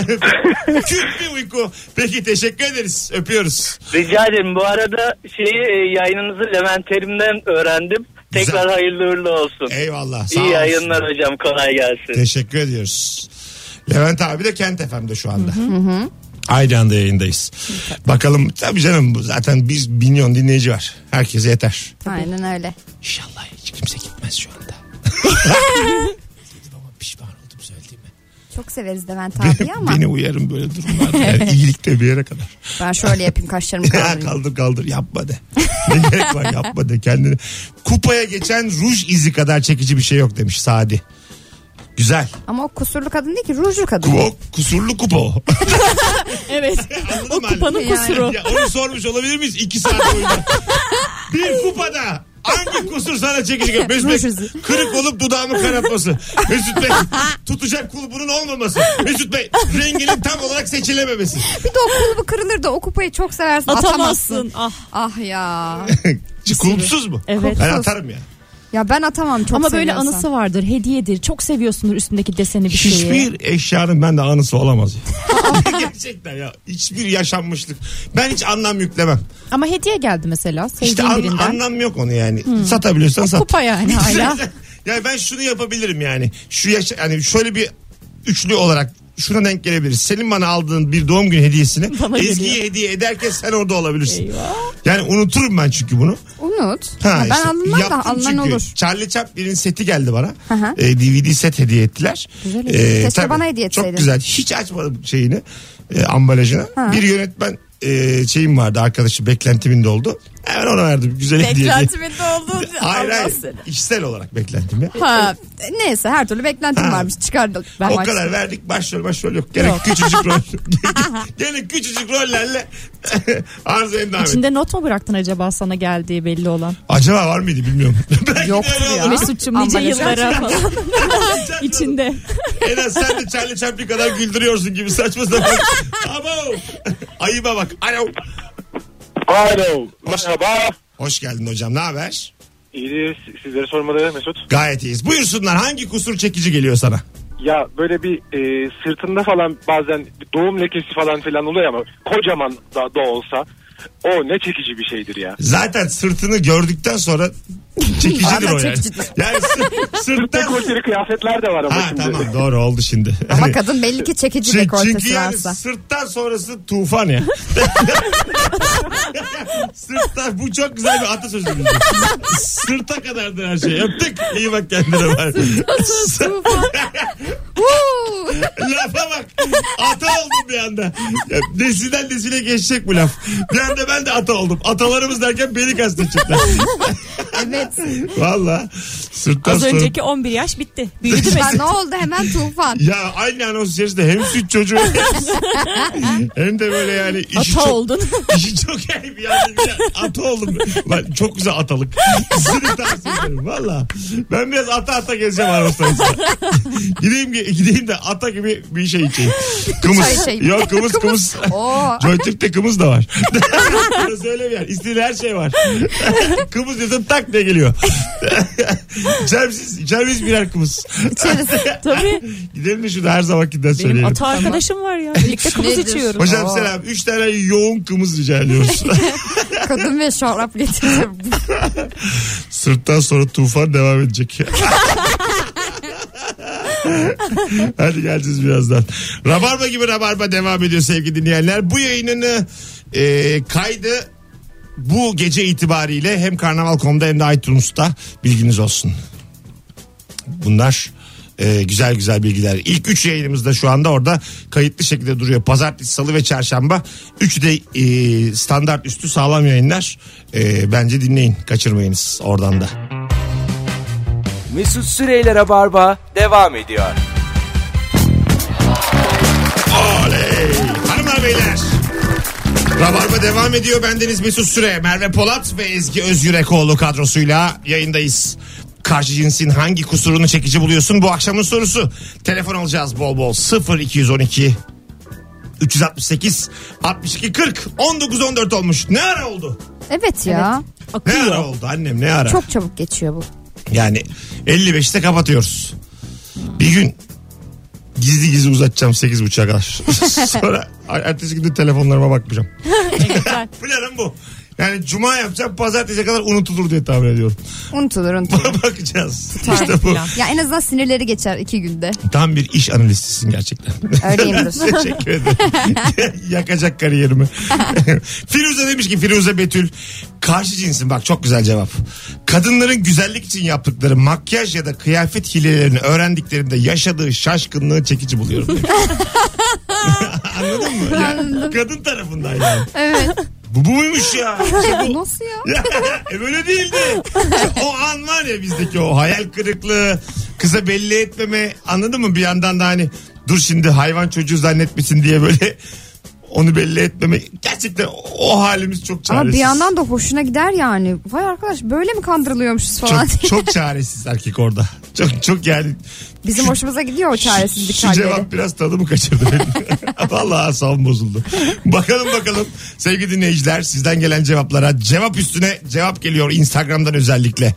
[SPEAKER 2] Küt bir uyku. Peki teşekkür ederiz. Öpüyoruz.
[SPEAKER 8] Rica ederim bu arada şeyi e, yayınınızı Levent Terim'den öğrendim. Tekrar
[SPEAKER 2] Güzel.
[SPEAKER 8] hayırlı uğurlu olsun.
[SPEAKER 2] Eyvallah. Sağ
[SPEAKER 8] İyi
[SPEAKER 2] olsun.
[SPEAKER 8] yayınlar hocam kolay gelsin.
[SPEAKER 2] Teşekkür ediyoruz. Levent abi de Kent FM'de şu anda. Aynı anda yayındayız. Bakalım tabii canım bu zaten biz milyon dinleyici var. Herkese yeter.
[SPEAKER 3] Aynen öyle.
[SPEAKER 2] İnşallah hiç kimse gitmez şu anda. Ama pişman oldum söylediğime.
[SPEAKER 3] Çok severiz Levent abi ama
[SPEAKER 2] Beni uyarın böyle durumlarda. Yani iyilik de bir yere kadar.
[SPEAKER 3] ben şöyle yapayım kaşlarımı
[SPEAKER 2] Ya
[SPEAKER 3] kaldırayım.
[SPEAKER 2] kaldır kaldır yapma de. Ne gerek var yapma de kendini. Kupaya geçen ruj izi kadar çekici bir şey yok demiş Sadi. Güzel.
[SPEAKER 3] Ama o kusurlu kadın değil ki rujlu kadın.
[SPEAKER 2] O kusurlu kupa o.
[SPEAKER 6] Evet.
[SPEAKER 2] Anladın
[SPEAKER 6] o
[SPEAKER 2] mı?
[SPEAKER 6] kupanın
[SPEAKER 3] Yani.
[SPEAKER 6] kusuru.
[SPEAKER 2] Ya onu sormuş olabilir miyiz? İki saat boyunca. bir kupada hangi kusur sana çekici geliyor? Mesut
[SPEAKER 3] Ruj izi.
[SPEAKER 2] Bey kırık olup dudağımı karartması. Mesut Bey tutacak kulbunun olmaması. Mesut Bey renginin tam olarak seçilememesi.
[SPEAKER 3] Bir de o kulbu kırılır da o kupayı çok seversin atamazsın.
[SPEAKER 6] Atamazsın. Ah.
[SPEAKER 3] Ah ya.
[SPEAKER 2] Kulpsuz mu?
[SPEAKER 6] Evet.
[SPEAKER 2] Ben atarım ya.
[SPEAKER 3] Ya ben atamam çok
[SPEAKER 6] Ama böyle
[SPEAKER 3] seviyorsam.
[SPEAKER 6] anısı vardır. Hediyedir. Çok seviyorsundur üstündeki deseni bir şey şeyi.
[SPEAKER 2] Hiçbir eşyanın bende anısı olamaz. ya. Gerçekten ya. Hiçbir yaşanmışlık. Ben hiç anlam yüklemem.
[SPEAKER 6] Ama hediye geldi mesela. Sevdiğin
[SPEAKER 2] İşte an-
[SPEAKER 6] birinden. Hmm.
[SPEAKER 2] anlam yok onu yani. Satabiliyorsan sat.
[SPEAKER 6] Kupa yani hala.
[SPEAKER 2] yani ben şunu yapabilirim yani. Şu yaşa yani şöyle bir üçlü olarak şuna denk gelebiliriz. Senin bana aldığın bir doğum günü hediyesini
[SPEAKER 6] Bana
[SPEAKER 2] Ezgi'ye
[SPEAKER 6] geliyor.
[SPEAKER 2] hediye ederken sen orada olabilirsin. Yani unuturum ben çünkü bunu.
[SPEAKER 3] Unut.
[SPEAKER 2] Ha,
[SPEAKER 3] Ha, ben
[SPEAKER 2] işte.
[SPEAKER 3] alınmam da
[SPEAKER 2] Yaptım
[SPEAKER 3] alınan
[SPEAKER 2] çünkü.
[SPEAKER 3] olur.
[SPEAKER 2] Charlie Chaplin'in seti geldi bana.
[SPEAKER 3] Hı hı.
[SPEAKER 2] Ee, DVD set hediye ettiler. Ee,
[SPEAKER 3] Güzel hediye. Keşke
[SPEAKER 2] tabii.
[SPEAKER 3] bana hediye etseydin.
[SPEAKER 2] Çok güzel. Hiç açmadım şeyini, e, ambalajını.
[SPEAKER 3] Ha.
[SPEAKER 2] Bir yönetmen e, şeyim vardı arkadaşı beklentimin de oldu. Hemen ona verdim. Güzel hediye. diye.
[SPEAKER 3] oldu.
[SPEAKER 2] Hayır hayır. İşsel olarak beklentim ya.
[SPEAKER 3] Ha, neyse her türlü beklentim
[SPEAKER 2] Ha.
[SPEAKER 3] varmış çıkardık. Ben
[SPEAKER 2] o
[SPEAKER 3] maç-
[SPEAKER 2] kadar verdik başrol başrol yok. Gene küçücük rol. Gene küçücük rollerle arzu endam et.
[SPEAKER 6] İçinde not mu bıraktın acaba sana geldiği belli olan?
[SPEAKER 2] Acaba var mıydı bilmiyorum. Belki
[SPEAKER 3] Yoktur
[SPEAKER 2] de öyle
[SPEAKER 3] ya.
[SPEAKER 2] olur.
[SPEAKER 6] Mesut'cum nice
[SPEAKER 3] Ambalaj
[SPEAKER 6] yıllara falan içinde.
[SPEAKER 2] En az sen de Charlie Chaplin kadar güldürüyorsun gibi saçma sapan. Abo. Ayıba bak. Alo.
[SPEAKER 9] Alo.
[SPEAKER 2] Hoş-
[SPEAKER 9] Merhaba.
[SPEAKER 2] Hoş geldin hocam ne haber?
[SPEAKER 9] İyidir. Sizleri sormalı Mesut.
[SPEAKER 2] Gayet iyiyiz. Buyursunlar hangi kusur çekici geliyor sana?
[SPEAKER 9] Ya böyle bir e, sırtında falan bazen doğum lekesi falan filan oluyor ama kocaman da, da olsa o ne çekici bir şeydir ya.
[SPEAKER 2] Zaten sırtını gördükten sonra çekicidir
[SPEAKER 3] Hala
[SPEAKER 2] o yani.
[SPEAKER 3] çekicidir.
[SPEAKER 2] Yani sı-
[SPEAKER 9] Sırtta
[SPEAKER 2] sırttan...
[SPEAKER 9] koteli kıyafetler de var ama
[SPEAKER 2] Ha
[SPEAKER 9] şimdi.
[SPEAKER 2] tamam doğru oldu şimdi.
[SPEAKER 3] Ama kadın belli ki çekici
[SPEAKER 2] Çünkü- Şey, Çünkü
[SPEAKER 3] dekoltesi
[SPEAKER 2] yani
[SPEAKER 3] varsa.
[SPEAKER 2] sırttan sonrası tufan ya. Sırttan bu çok güzel bir atasözü. bizim. Sırta kadardır her şey. Öptük. İyi bak kendine var.
[SPEAKER 3] Huu!
[SPEAKER 2] Lafa bak. Ata oldum bir anda. Ya, nesilden nesile geçecek bu laf. Bir anda ben de ata oldum. Atalarımız derken beni kastetecekler.
[SPEAKER 3] evet.
[SPEAKER 2] Valla. Sırttan
[SPEAKER 4] Az
[SPEAKER 2] sonra...
[SPEAKER 4] önceki 11 yaş bitti. Büyüdü
[SPEAKER 3] Ya
[SPEAKER 4] Mesut.
[SPEAKER 3] ne oldu hemen tufan.
[SPEAKER 2] Ya aynı anons içerisinde hem süt çocuğu hem de böyle yani işi
[SPEAKER 6] Ata
[SPEAKER 2] çok
[SPEAKER 6] oldun.
[SPEAKER 2] İşi çok iyi bir yani bir ata oldum. Lan çok güzel atalık. Sizi tavsiye ederim valla. Ben biraz ata ata gezeceğim Arvastan'da. gideyim, gideyim de ata gibi bir şey içeyim.
[SPEAKER 3] Çay
[SPEAKER 2] Kımız.
[SPEAKER 3] içeyim.
[SPEAKER 2] Yok kımız kımız.
[SPEAKER 3] Oo.
[SPEAKER 2] Joytürk'te kımız da var. Burası öyle bir yer. İstediğin her şey var. kımız diyorsun tak diye geliyor. Cemsiz, Cemsiz birer kımız.
[SPEAKER 3] İçeriz.
[SPEAKER 4] Tabii.
[SPEAKER 2] Gidelim de şurada her zamankinden
[SPEAKER 4] Benim
[SPEAKER 2] söyleyelim.
[SPEAKER 4] ata arkadaşım var ya. Birlikte kımız
[SPEAKER 3] Nedir?
[SPEAKER 4] içiyoruz.
[SPEAKER 2] Hocam
[SPEAKER 3] Aa.
[SPEAKER 2] selam. Üç tane yoğun kımız rica ediyoruz.
[SPEAKER 3] Kadın ve şarap getirdim.
[SPEAKER 2] Sırttan sonra tufan devam edecek. Hadi geleceğiz birazdan. Rabarba gibi rabarba devam ediyor sevgili dinleyenler. Bu yayınını e, kaydı bu gece itibariyle hem Karnaval.com'da hem de iTunes'ta bilginiz olsun. Bunlar e, güzel güzel bilgiler. İlk 3 yayınımızda şu anda orada kayıtlı şekilde duruyor. Pazartesi, salı ve çarşamba. Üçü de e, standart üstü sağlam yayınlar. E, bence dinleyin. Kaçırmayınız oradan da.
[SPEAKER 1] Mesut Süreyler'e barba devam ediyor.
[SPEAKER 2] beyler. Rabarba devam ediyor. Bendeniz Mesut Süre, Merve Polat ve Ezgi Özgürekoğlu kadrosuyla yayındayız. Karşı cinsin hangi kusurunu çekici buluyorsun? Bu akşamın sorusu. Telefon alacağız bol bol. 0 212 368 62 40 19 14 olmuş. Ne ara oldu?
[SPEAKER 3] Evet ya.
[SPEAKER 2] Ne ara oldu annem ne ara?
[SPEAKER 3] Çok çabuk geçiyor bu.
[SPEAKER 2] Yani 55'te kapatıyoruz. Bir gün gizli gizli uzatacağım 8.30'a kadar. Sonra ertesi gün de telefonlarıma bakmayacağım. Planım bu. Yani cuma yapacağım pazartesiye kadar unutulur diye tahmin ediyorum.
[SPEAKER 3] Unutulur unutulur.
[SPEAKER 2] Bakacağız. işte bu.
[SPEAKER 6] plan.
[SPEAKER 3] ya en azından sinirleri geçer iki günde.
[SPEAKER 2] Tam bir iş analistisin gerçekten.
[SPEAKER 3] Öyleyimdir.
[SPEAKER 2] Teşekkür ederim. Yakacak kariyerimi. Firuze demiş ki Firuze Betül karşı cinsin bak çok güzel cevap. Kadınların güzellik için yaptıkları makyaj ya da kıyafet hilelerini öğrendiklerinde yaşadığı şaşkınlığı çekici buluyorum. demiş. Anladın mı? Ya, kadın tarafından yani. Evet. Bu buymuş ya. İşte bu.
[SPEAKER 3] Nasıl ya?
[SPEAKER 2] Ya, e böyle değildi. o an var ya bizdeki o hayal kırıklığı, kıza belli etmeme anladın mı? Bir yandan da hani dur şimdi hayvan çocuğu zannetmesin diye böyle onu belli etmeme. Gerçekten o, o halimiz çok
[SPEAKER 3] Ama
[SPEAKER 2] çaresiz.
[SPEAKER 3] bir yandan da hoşuna gider yani. Vay arkadaş böyle mi kandırılıyormuşuz falan.
[SPEAKER 2] çok, çok çaresiz erkek orada. Çok çok yani
[SPEAKER 3] Bizim hoşumuza gidiyor o çaresizlik
[SPEAKER 2] Şu
[SPEAKER 3] halleri.
[SPEAKER 2] cevap biraz tadımı kaçırdı benim. Vallahi asabım bozuldu. Bakalım bakalım sevgili dinleyiciler sizden gelen cevaplara cevap üstüne cevap geliyor Instagram'dan özellikle.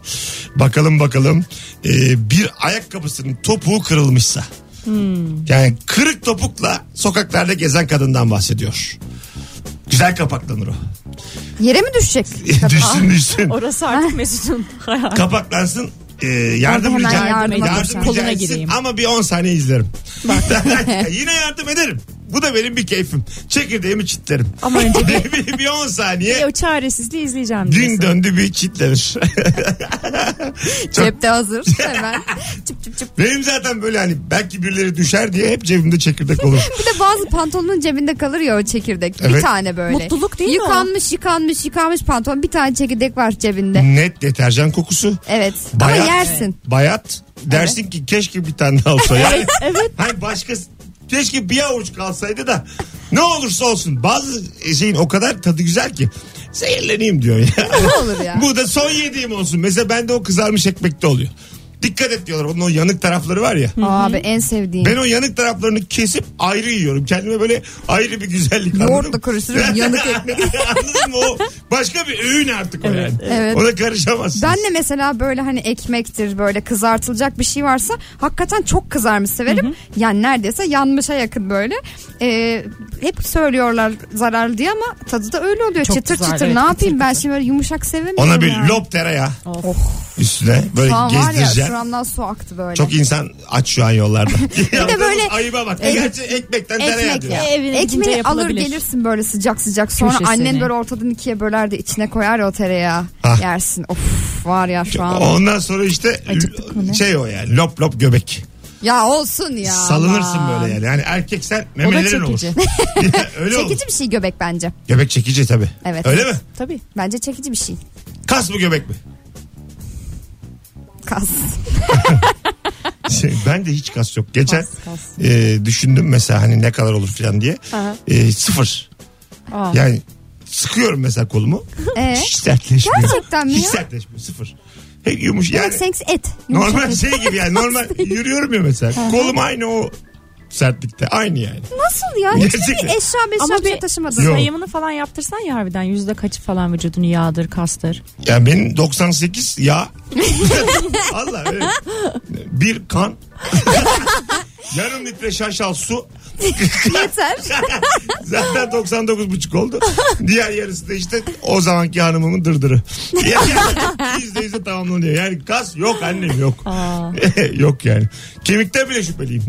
[SPEAKER 2] Bakalım bakalım Ee, bir ayakkabısının topuğu kırılmışsa.
[SPEAKER 3] Hmm.
[SPEAKER 2] Yani kırık topukla sokaklarda gezen kadından bahsediyor. Güzel kapaklanır o.
[SPEAKER 3] Yere mi düşecek?
[SPEAKER 2] düşsün düşsün.
[SPEAKER 4] Orası artık Mesut'un hayatı.
[SPEAKER 2] Kapaklansın. Ee, yardım
[SPEAKER 3] Orada
[SPEAKER 2] rica
[SPEAKER 3] hemen
[SPEAKER 2] ederim.
[SPEAKER 3] yardım
[SPEAKER 2] Yardım, rica
[SPEAKER 3] alacağım.
[SPEAKER 6] Koluna
[SPEAKER 2] etsin
[SPEAKER 6] gireyim.
[SPEAKER 2] ama bir 10 saniye izlerim. Yine yardım ederim. Bu da benim bir keyfim. Çekirdeğimi çitlerim.
[SPEAKER 6] Ama önce bir,
[SPEAKER 2] bir, bir 10 saniye
[SPEAKER 6] o çaresizliği izleyeceğim.
[SPEAKER 2] gün
[SPEAKER 6] diyorsun.
[SPEAKER 2] döndü bir çitlenir.
[SPEAKER 3] Cepte hazır hemen. çıp çıp çıp.
[SPEAKER 2] benim zaten böyle hani belki birileri düşer diye hep cebimde çekirdek olur.
[SPEAKER 3] Bir de bazı pantolonun cebinde kalır ya o çekirdek. Bir
[SPEAKER 2] Evet.
[SPEAKER 3] tane böyle.
[SPEAKER 6] Mutluluk değil mi o?
[SPEAKER 3] yıkanmış, yıkanmış, yıkanmış pantolon. Bir tane çekirdek var cebinde.
[SPEAKER 2] Net deterjan kokusu.
[SPEAKER 3] Evet.
[SPEAKER 2] Bayağı-
[SPEAKER 3] Ama yersin.
[SPEAKER 2] Bayat. Dersin ki keşke bir tane daha olsa. Yani, Hani başka keşke bir avuç kalsaydı da ne olursa olsun bazı e, şeyin o kadar tadı güzel ki zehirleneyim diyor ya.
[SPEAKER 3] Ne olur ya.
[SPEAKER 2] Bu da son yediğim olsun. Mesela bende o kızarmış ekmekte oluyor. Dikkat et diyorlar. Onun o yanık tarafları var ya.
[SPEAKER 3] Abi en sevdiğim.
[SPEAKER 2] Ben o yanık taraflarını kesip ayrı yoğuruyorum. Kendime böyle ayrı bir güzellik anladın
[SPEAKER 3] Yoğurtla
[SPEAKER 2] mı?
[SPEAKER 3] karıştırıyorum yanık ekmek.
[SPEAKER 2] anladın mı? O başka bir öğün artık o yani.
[SPEAKER 3] evet.
[SPEAKER 2] Ona karışamazsın.
[SPEAKER 3] Ben de mesela böyle hani ekmektir böyle kızartılacak bir şey varsa hakikaten çok kızarmış severim. Yani neredeyse yanmışa yakın böyle. Ee, hep söylüyorlar zararlı diye ama tadı da öyle oluyor.
[SPEAKER 6] Çok
[SPEAKER 3] çıtır
[SPEAKER 6] kızar,
[SPEAKER 3] çıtır
[SPEAKER 6] evet,
[SPEAKER 3] ne
[SPEAKER 6] kıtır
[SPEAKER 3] yapayım ben şimdi böyle yumuşak sevemiyorum.
[SPEAKER 2] Ona bir
[SPEAKER 3] ya.
[SPEAKER 2] lob tereyağı
[SPEAKER 6] Of.
[SPEAKER 2] üstüne böyle
[SPEAKER 3] Şu an var ya
[SPEAKER 2] gezdireceksin.
[SPEAKER 3] şuramdan su aktı böyle.
[SPEAKER 2] Çok insan aç şu an yollarda. bir
[SPEAKER 3] böyle-
[SPEAKER 2] Ayıba bak.
[SPEAKER 3] Evet.
[SPEAKER 2] Gerçi ekmekten tereyağı
[SPEAKER 3] Ekmek
[SPEAKER 2] diyor.
[SPEAKER 3] ya.
[SPEAKER 6] Evine gidince
[SPEAKER 3] Ekmeği alır
[SPEAKER 6] yapılabilir.
[SPEAKER 3] gelirsin böyle sıcak sıcak. Sonra
[SPEAKER 6] Köşesini.
[SPEAKER 3] annen böyle ortadan ikiye böler de içine koyar ya o tereyağı.
[SPEAKER 2] Ah.
[SPEAKER 3] Yersin. Of var ya şu an.
[SPEAKER 2] Ondan sonra işte
[SPEAKER 6] Acıktık mı ne?
[SPEAKER 2] şey o yani lop lop göbek.
[SPEAKER 3] Ya olsun ya.
[SPEAKER 2] Salınırsın
[SPEAKER 3] aman.
[SPEAKER 2] böyle yani. Yani erkeksen
[SPEAKER 6] O da
[SPEAKER 2] memelerin olur.
[SPEAKER 6] çekici.
[SPEAKER 2] Öyle olur.
[SPEAKER 3] Çekici bir şey göbek bence.
[SPEAKER 2] Göbek çekici tabii.
[SPEAKER 3] Evet.
[SPEAKER 2] Öyle mi?
[SPEAKER 6] Tabii.
[SPEAKER 3] Bence çekici bir şey.
[SPEAKER 2] Kas mı göbek mi?
[SPEAKER 3] Kas.
[SPEAKER 2] Şey, ben de hiç kas yok. Geçen
[SPEAKER 3] Kas, kas.
[SPEAKER 2] e, düşündüm mesela hani ne kadar olur falan diye. E, sıfır.
[SPEAKER 6] Aa.
[SPEAKER 2] Yani sıkıyorum mesela kolumu.
[SPEAKER 3] Ee?
[SPEAKER 2] Hiç sertleşmiyor.
[SPEAKER 3] Gerçekten mi
[SPEAKER 2] hiç
[SPEAKER 3] ya?
[SPEAKER 2] sertleşmiyor sıfır. Hep yumuş yani.
[SPEAKER 3] Demek seks et. Yumuşak
[SPEAKER 2] Normal
[SPEAKER 3] et.
[SPEAKER 2] şey gibi yani normal yürüyorum ya mesela. Kolum aynı o sertlikte aynı yani.
[SPEAKER 3] Nasıl ya? Hiç mi
[SPEAKER 2] Gerçekten.
[SPEAKER 3] eşya meşya
[SPEAKER 4] Ama
[SPEAKER 3] bir şey
[SPEAKER 4] bir-
[SPEAKER 3] taşımadın?
[SPEAKER 2] Yok.
[SPEAKER 4] Sayımını falan yaptırsan ya harbiden yüzde kaçı falan vücudunu yağdır kastır.
[SPEAKER 2] Yani benim 98 ya. Allah öyle. Bir kan. Yarım litre şaşal su.
[SPEAKER 3] Yeter.
[SPEAKER 2] Zaten 99,5 oldu. Diğer yarısı da işte o zamanki hanımımın dırdırı. Yüzde yüzde tamamlanıyor. Yani kas yok annem yok. yok yani. Kemikte bile şüpheliyim.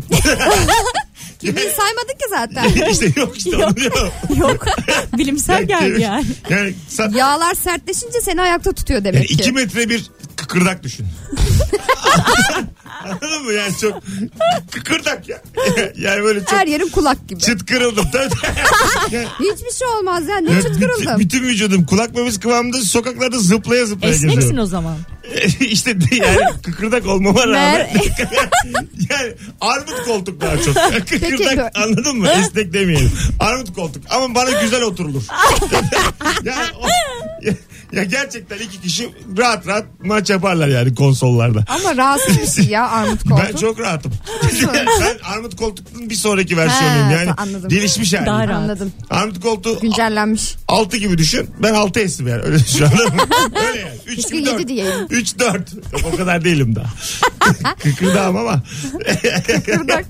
[SPEAKER 3] Kimi saymadın ki zaten.
[SPEAKER 2] işte yok işte
[SPEAKER 4] Yok.
[SPEAKER 2] onun yok.
[SPEAKER 4] Yok bilimsel geldi yani.
[SPEAKER 2] Yani sa-
[SPEAKER 3] Yağlar sertleşince seni ayakta tutuyor
[SPEAKER 2] Yani
[SPEAKER 3] demek
[SPEAKER 2] iki
[SPEAKER 3] ki.
[SPEAKER 2] metre bir kıkırdak düşün. Anladın mı yani çok kıkırdak ya. Yani böyle çok
[SPEAKER 3] Her yerin kulak gibi.
[SPEAKER 2] çıt kırıldım. Tabii. Yani-
[SPEAKER 3] Hiçbir şey olmaz ya. Ne
[SPEAKER 2] yani
[SPEAKER 3] çıt
[SPEAKER 2] bütün,
[SPEAKER 3] kırıldım.
[SPEAKER 2] bütün vücudum kulak memesi kıvamında sokaklarda zıplaya zıplaya
[SPEAKER 4] Esneksin
[SPEAKER 2] geziyorum.
[SPEAKER 4] o zaman.
[SPEAKER 2] işte yani kıkırdak olmama rağmen
[SPEAKER 3] Mer-
[SPEAKER 2] yani armut koltuk daha çok. Kıkırdak
[SPEAKER 3] bu-
[SPEAKER 2] anladın mı? Esnek demeyelim. Armut koltuk ama bana güzel oturulur. ya, o- ya- ya gerçekten iki kişi rahat rahat maç yaparlar yani konsollarda.
[SPEAKER 3] Ama rahatsız bir şey ya armut koltuğu.
[SPEAKER 2] Ben çok rahatım. ben armut koltuğun bir sonraki versiyonuyum
[SPEAKER 3] Ha,
[SPEAKER 2] yani.
[SPEAKER 3] anladım.
[SPEAKER 2] Gelişmiş yani.
[SPEAKER 4] Daha rahat.
[SPEAKER 3] Anladım.
[SPEAKER 2] Armut koltuğu
[SPEAKER 3] Güncellenmiş. 6
[SPEAKER 2] 6 gibi düşün. Ben 6 esim yani. Öyle düşün anladın mı? Öyle yani. 3
[SPEAKER 3] Keşke
[SPEAKER 2] gibi 4.
[SPEAKER 3] yedi diyeyim.
[SPEAKER 2] 3 4. O kadar değilim daha. Kıkırdağım ama. Kıkırdak.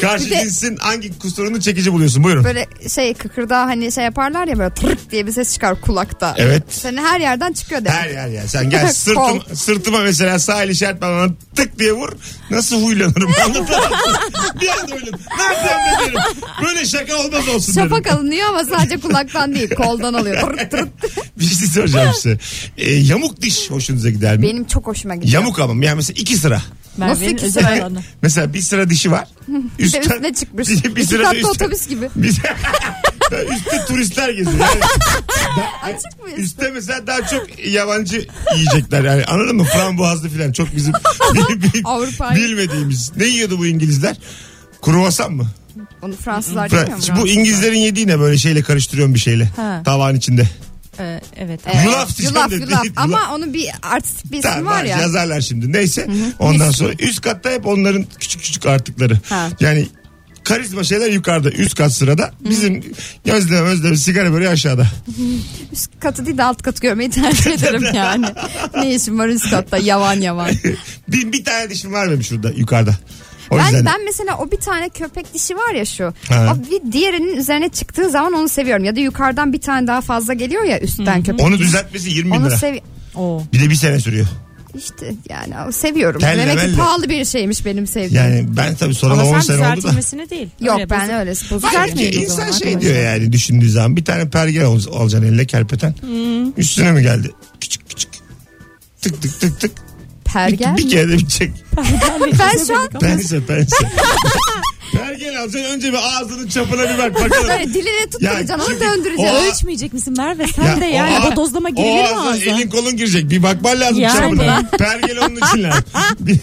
[SPEAKER 2] Karşı
[SPEAKER 3] Bir de-
[SPEAKER 2] cinsin hangi kusurunu çekici buluyorsun? Buyurun.
[SPEAKER 3] Böyle şey kıkırdağı hani şey yaparlar ya böyle tırk diye bir ses çıkar kulakta.
[SPEAKER 2] Evet.
[SPEAKER 3] Seni her yerden çıkıyor demek.
[SPEAKER 2] Her yer ya. Sen gel sırtım,
[SPEAKER 3] Kol.
[SPEAKER 2] sırtıma mesela sağ eli şart bana tık diye vur. Nasıl huylanırım? Anlatamam. bir anda huylanırım. Ne yapacağım ben derim. Böyle şaka olmaz olsun derim.
[SPEAKER 3] Şafak alınıyor ama sadece kulaktan değil koldan alıyor. Tırk tırk.
[SPEAKER 2] Bir şey soracağım size. Ee, yamuk diş hoşunuza gider mi?
[SPEAKER 3] Benim çok hoşuma gidiyor.
[SPEAKER 2] Yamuk ama yani mesela iki sıra.
[SPEAKER 3] Nasıl
[SPEAKER 4] Merve'nin
[SPEAKER 3] ki
[SPEAKER 4] özel
[SPEAKER 3] sen-
[SPEAKER 4] alanı.
[SPEAKER 2] Mesela bir sıra dişi var.
[SPEAKER 3] Bir de üstüne çıkmış.
[SPEAKER 2] Bir, bir
[SPEAKER 3] İki
[SPEAKER 2] sıra da
[SPEAKER 3] katlı
[SPEAKER 2] üstte-
[SPEAKER 3] otobüs gibi.
[SPEAKER 2] Bir, üstte turistler geziyor. Yani
[SPEAKER 3] Açık mı?
[SPEAKER 2] üstte mesela daha çok yabancı yiyecekler yani anladın mı? Frambuazlı filan çok bizim bil- bil-
[SPEAKER 3] Avrupa.
[SPEAKER 2] bilmediğimiz. Ne yiyordu bu İngilizler? Kruvasan mı?
[SPEAKER 3] Bunu Fransızlar
[SPEAKER 2] Fra-
[SPEAKER 3] bilmiyor mu?
[SPEAKER 2] bu
[SPEAKER 3] Fransızlar?
[SPEAKER 2] İngilizlerin yediği ne böyle şeyle karıştırıyorum bir şeyle.
[SPEAKER 4] Ha.
[SPEAKER 2] Tavan içinde.
[SPEAKER 4] Ee, evet.
[SPEAKER 3] Evet.
[SPEAKER 2] Yulaf diyeceğim
[SPEAKER 3] Yulaf
[SPEAKER 2] de-
[SPEAKER 3] yulaf.
[SPEAKER 2] Yulaf.
[SPEAKER 3] Ama onun bir artistik bir ismi
[SPEAKER 2] Tamam,
[SPEAKER 3] var ya.
[SPEAKER 2] Yazarlar şimdi. Neyse. Ondan sonra üst katta hep onların küçük küçük artıkları.
[SPEAKER 3] Ha.
[SPEAKER 2] Yani karizma şeyler yukarıda. Üst kat sırada. Bizim gözlem özlem sigara böreği aşağıda.
[SPEAKER 3] Üst katı değil de alt katı görmeyi tercih ederim yani. ne işim var üst katta yavan yavan.
[SPEAKER 2] bir, bir tane dişim var benim şurada yukarıda. O
[SPEAKER 3] Ben,
[SPEAKER 2] yüzden
[SPEAKER 3] ben mesela o bir tane köpek dişi var ya şu.
[SPEAKER 2] Ha.
[SPEAKER 3] O bir diğerinin üzerine çıktığı zaman onu seviyorum. Ya da yukarıdan bir tane daha fazla geliyor ya üstten köpek.
[SPEAKER 2] onu düzeltmesi 20 bin
[SPEAKER 3] Onu
[SPEAKER 2] lira.
[SPEAKER 3] sevi
[SPEAKER 4] Oo.
[SPEAKER 2] bir de bir sene sürüyor.
[SPEAKER 3] işte yani o seviyorum.
[SPEAKER 2] Telle
[SPEAKER 3] Demek
[SPEAKER 2] melle.
[SPEAKER 3] ki pahalı bir şeymiş benim sevdiğim.
[SPEAKER 2] Yani ben tabii sonra
[SPEAKER 4] Ama
[SPEAKER 2] 10
[SPEAKER 4] sen
[SPEAKER 2] sene oldu da.
[SPEAKER 4] düzeltilmesini değil.
[SPEAKER 3] Yok
[SPEAKER 4] Öyle
[SPEAKER 3] ben
[SPEAKER 4] bozuk-
[SPEAKER 3] öyle bozuk.
[SPEAKER 4] Güzel
[SPEAKER 3] yerim.
[SPEAKER 4] mi?
[SPEAKER 2] Ki
[SPEAKER 4] Neydi o
[SPEAKER 2] insan
[SPEAKER 4] zaman
[SPEAKER 2] şey
[SPEAKER 4] arkadaşlar?
[SPEAKER 2] diyor yani düşündüğü zaman bir tane pergel al- alacaksın eline kerpeten.
[SPEAKER 3] Hmm.
[SPEAKER 2] Üstüne mi geldi? Küçük küçük. Tık tık tık tık.
[SPEAKER 3] Pergel
[SPEAKER 2] Bir
[SPEAKER 3] mi?
[SPEAKER 2] kere de bitecek.
[SPEAKER 3] Ben şu an
[SPEAKER 2] Pense pense. Pergel alacaksın önce bir ağzının çapına bir bak bakalım.
[SPEAKER 3] böyle diline tutturacaksın onu
[SPEAKER 2] çünkü
[SPEAKER 3] döndüreceksin.
[SPEAKER 2] o-
[SPEAKER 4] Ölçmeyecek misin Merve? Sen de
[SPEAKER 2] o
[SPEAKER 4] yani
[SPEAKER 2] ağ-
[SPEAKER 4] o dozlama
[SPEAKER 2] o
[SPEAKER 4] girilir mi
[SPEAKER 2] ağza
[SPEAKER 4] ağza?
[SPEAKER 2] Elin kolun girecek. Bir bakman lazım
[SPEAKER 4] Yani.
[SPEAKER 2] çapına. Pergel onun için lazım. bir,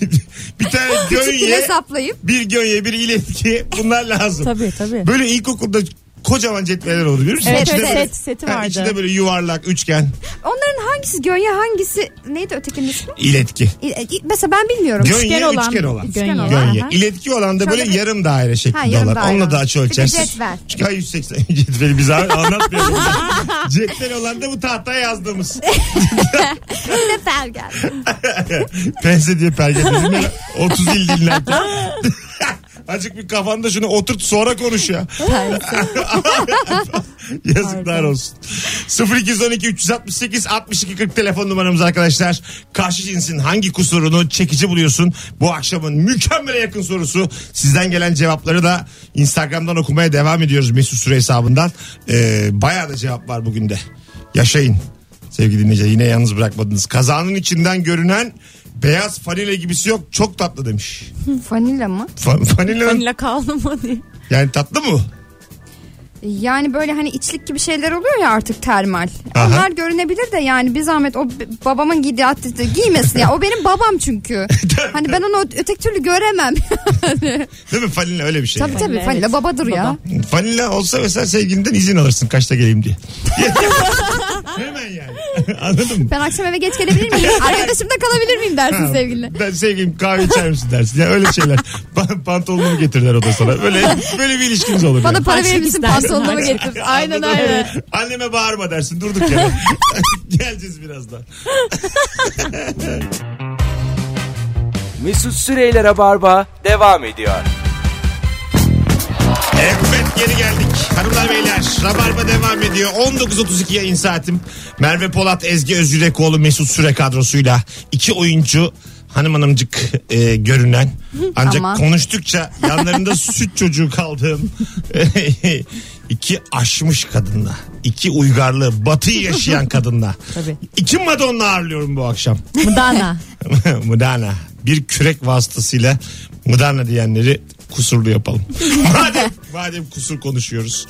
[SPEAKER 2] bir tane
[SPEAKER 3] Küçük
[SPEAKER 2] gönye,
[SPEAKER 3] hesaplayıp
[SPEAKER 2] bir gönye, bir iletki bunlar lazım.
[SPEAKER 4] Tabii tabii.
[SPEAKER 2] Böyle ilkokulda kocaman cetveler oldu biliyor musun?
[SPEAKER 4] Evet,
[SPEAKER 2] İçinde
[SPEAKER 4] evet,
[SPEAKER 2] böyle-
[SPEAKER 4] set- seti
[SPEAKER 2] Ha,
[SPEAKER 4] vardı.
[SPEAKER 2] İçinde böyle yuvarlak, üçgen,
[SPEAKER 3] onların hangisi gönye hangisi neydi ötekinin ismi?
[SPEAKER 2] iletki.
[SPEAKER 3] İ- e, i- Mesela ben bilmiyorum.
[SPEAKER 2] Gönye,
[SPEAKER 4] olan-
[SPEAKER 2] üçgen olan.
[SPEAKER 4] Gönye.
[SPEAKER 3] Üçgen olan,
[SPEAKER 2] Gönye.
[SPEAKER 3] aha.
[SPEAKER 2] İletki olan da
[SPEAKER 3] Şöyle
[SPEAKER 2] böyle
[SPEAKER 3] bir-
[SPEAKER 2] yarım daire
[SPEAKER 3] Ha,
[SPEAKER 2] şeklinde
[SPEAKER 3] yarım
[SPEAKER 2] olan.
[SPEAKER 3] daire
[SPEAKER 2] Onunla
[SPEAKER 3] olan.
[SPEAKER 2] da açı
[SPEAKER 3] Bir de
[SPEAKER 2] ölçersin.
[SPEAKER 3] cetvel.
[SPEAKER 2] Çünkü ha, 180 cetveli bize anlatmayalım. cetvel olan da bu tahtaya yazdığımız.
[SPEAKER 3] Ne pergel.
[SPEAKER 2] Pense diye pergel dedim ya. 30 il dinlerken. Azıcık bir kafanda şunu oturt sonra konuş ya. Yazıklar olsun. 0212 368 62 40 telefon numaramız arkadaşlar. Karşı cinsin hangi kusurunu çekici buluyorsun? Bu akşamın mükemmele yakın sorusu. Sizden gelen cevapları da Instagram'dan okumaya devam ediyoruz Mesut Süre hesabından. Ee, bayağı da cevap var bugün de. Yaşayın. Sevgili dinleyiciler yine yalnız bırakmadınız. Kazanın içinden görünen beyaz fanile gibisi yok. Çok tatlı demiş.
[SPEAKER 3] Vanilla mı?
[SPEAKER 2] Fa- fanile
[SPEAKER 4] Vanilla kaldı mı diye.
[SPEAKER 2] yani tatlı mı?
[SPEAKER 3] Yani böyle hani içlik gibi şeyler oluyor ya artık termal.
[SPEAKER 2] Aha.
[SPEAKER 3] Onlar görünebilir de yani bir zahmet o b- babamın giydiği atleti giymesin ya. O benim babam çünkü. hani ben onu ö- öteki türlü göremem.
[SPEAKER 2] Değil mi? Fanile öyle bir şey.
[SPEAKER 3] tabii tabii
[SPEAKER 4] Evet.
[SPEAKER 3] Fanila babadır ya.
[SPEAKER 2] Fanila olsa mesela sevgilinden izin alırsın kaçta geleyim diye. Hemen yani. Anladın mı?
[SPEAKER 3] Ben akşam eve geç gelebilir miyim? Arkadaşımda kalabilir miyim dersin
[SPEAKER 2] Ha,
[SPEAKER 3] sevgiline.
[SPEAKER 2] Ben sevgilim kahve içer misin dersin. Ya öyle şeyler. Pa- Pantolonumu getirirler o da sana. Böyle, böyle bir ilişkimiz olur.
[SPEAKER 3] Bana
[SPEAKER 2] yani.
[SPEAKER 3] para verir
[SPEAKER 4] Harçlık
[SPEAKER 3] misin
[SPEAKER 4] istersin,
[SPEAKER 3] pantolonumu
[SPEAKER 4] harçlık.
[SPEAKER 3] getir. Aynen
[SPEAKER 2] Anladın mı?
[SPEAKER 3] aynen.
[SPEAKER 2] Anneme bağırma dersin durduk ya. Geleceğiz birazdan.
[SPEAKER 1] Mesut Süreyler'e barba devam ediyor.
[SPEAKER 2] Evet geri geldik. Hanımlar beyler Rabarba devam ediyor. 19.32 yayın saatim. Merve Polat, Ezgi Özgürekoğlu, Mesut Süre kadrosuyla iki oyuncu hanım hanımcık e, görünen ancak
[SPEAKER 3] Ama-
[SPEAKER 2] konuştukça yanlarında süt çocuğu kaldığım iki aşmış kadınla iki uygarlığı batıyı yaşayan kadınla
[SPEAKER 4] Tabii.
[SPEAKER 2] iki Madonna ağırlıyorum bu akşam.
[SPEAKER 4] Mudana.
[SPEAKER 2] Mudana. Bir kürek vasıtasıyla Mudana diyenleri kusurlu yapalım. madem, madem kusur konuşuyoruz.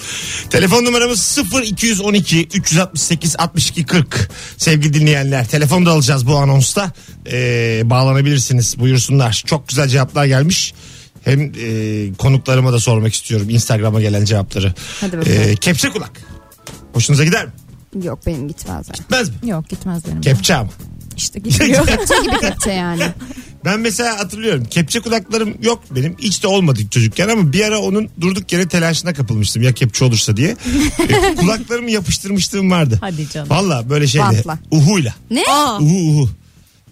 [SPEAKER 2] Telefon numaramız 0212 368 62 40. Sevgili dinleyenler telefon da alacağız bu anonsta. Ee, bağlanabilirsiniz buyursunlar. Çok güzel cevaplar gelmiş. Hem e, konuklarıma da sormak istiyorum Instagram'a gelen cevapları.
[SPEAKER 3] Hadi bakalım.
[SPEAKER 2] Ee, kepçe kulak. Hoşunuza gider mi?
[SPEAKER 3] Yok benim gitmez. yani.
[SPEAKER 2] Gitmez mi?
[SPEAKER 6] Yok gitmez benim.
[SPEAKER 2] Kepçe ama.
[SPEAKER 6] işte gidiyor.
[SPEAKER 3] Kepçe gibi kepçe yani.
[SPEAKER 2] Ben mesela hatırlıyorum kepçe kulaklarım yok benim. Hiç de olmadı çocukken ama bir ara onun durduk yere telaşına kapılmıştım ya kepçe olursa diye. E, kulaklarımı yapıştırmışlığım vardı.
[SPEAKER 4] Hadi canım.
[SPEAKER 2] Valla böyle şeyle.
[SPEAKER 3] Bantla.
[SPEAKER 2] Uhuyla.
[SPEAKER 3] Ne?
[SPEAKER 2] Uhu uhu.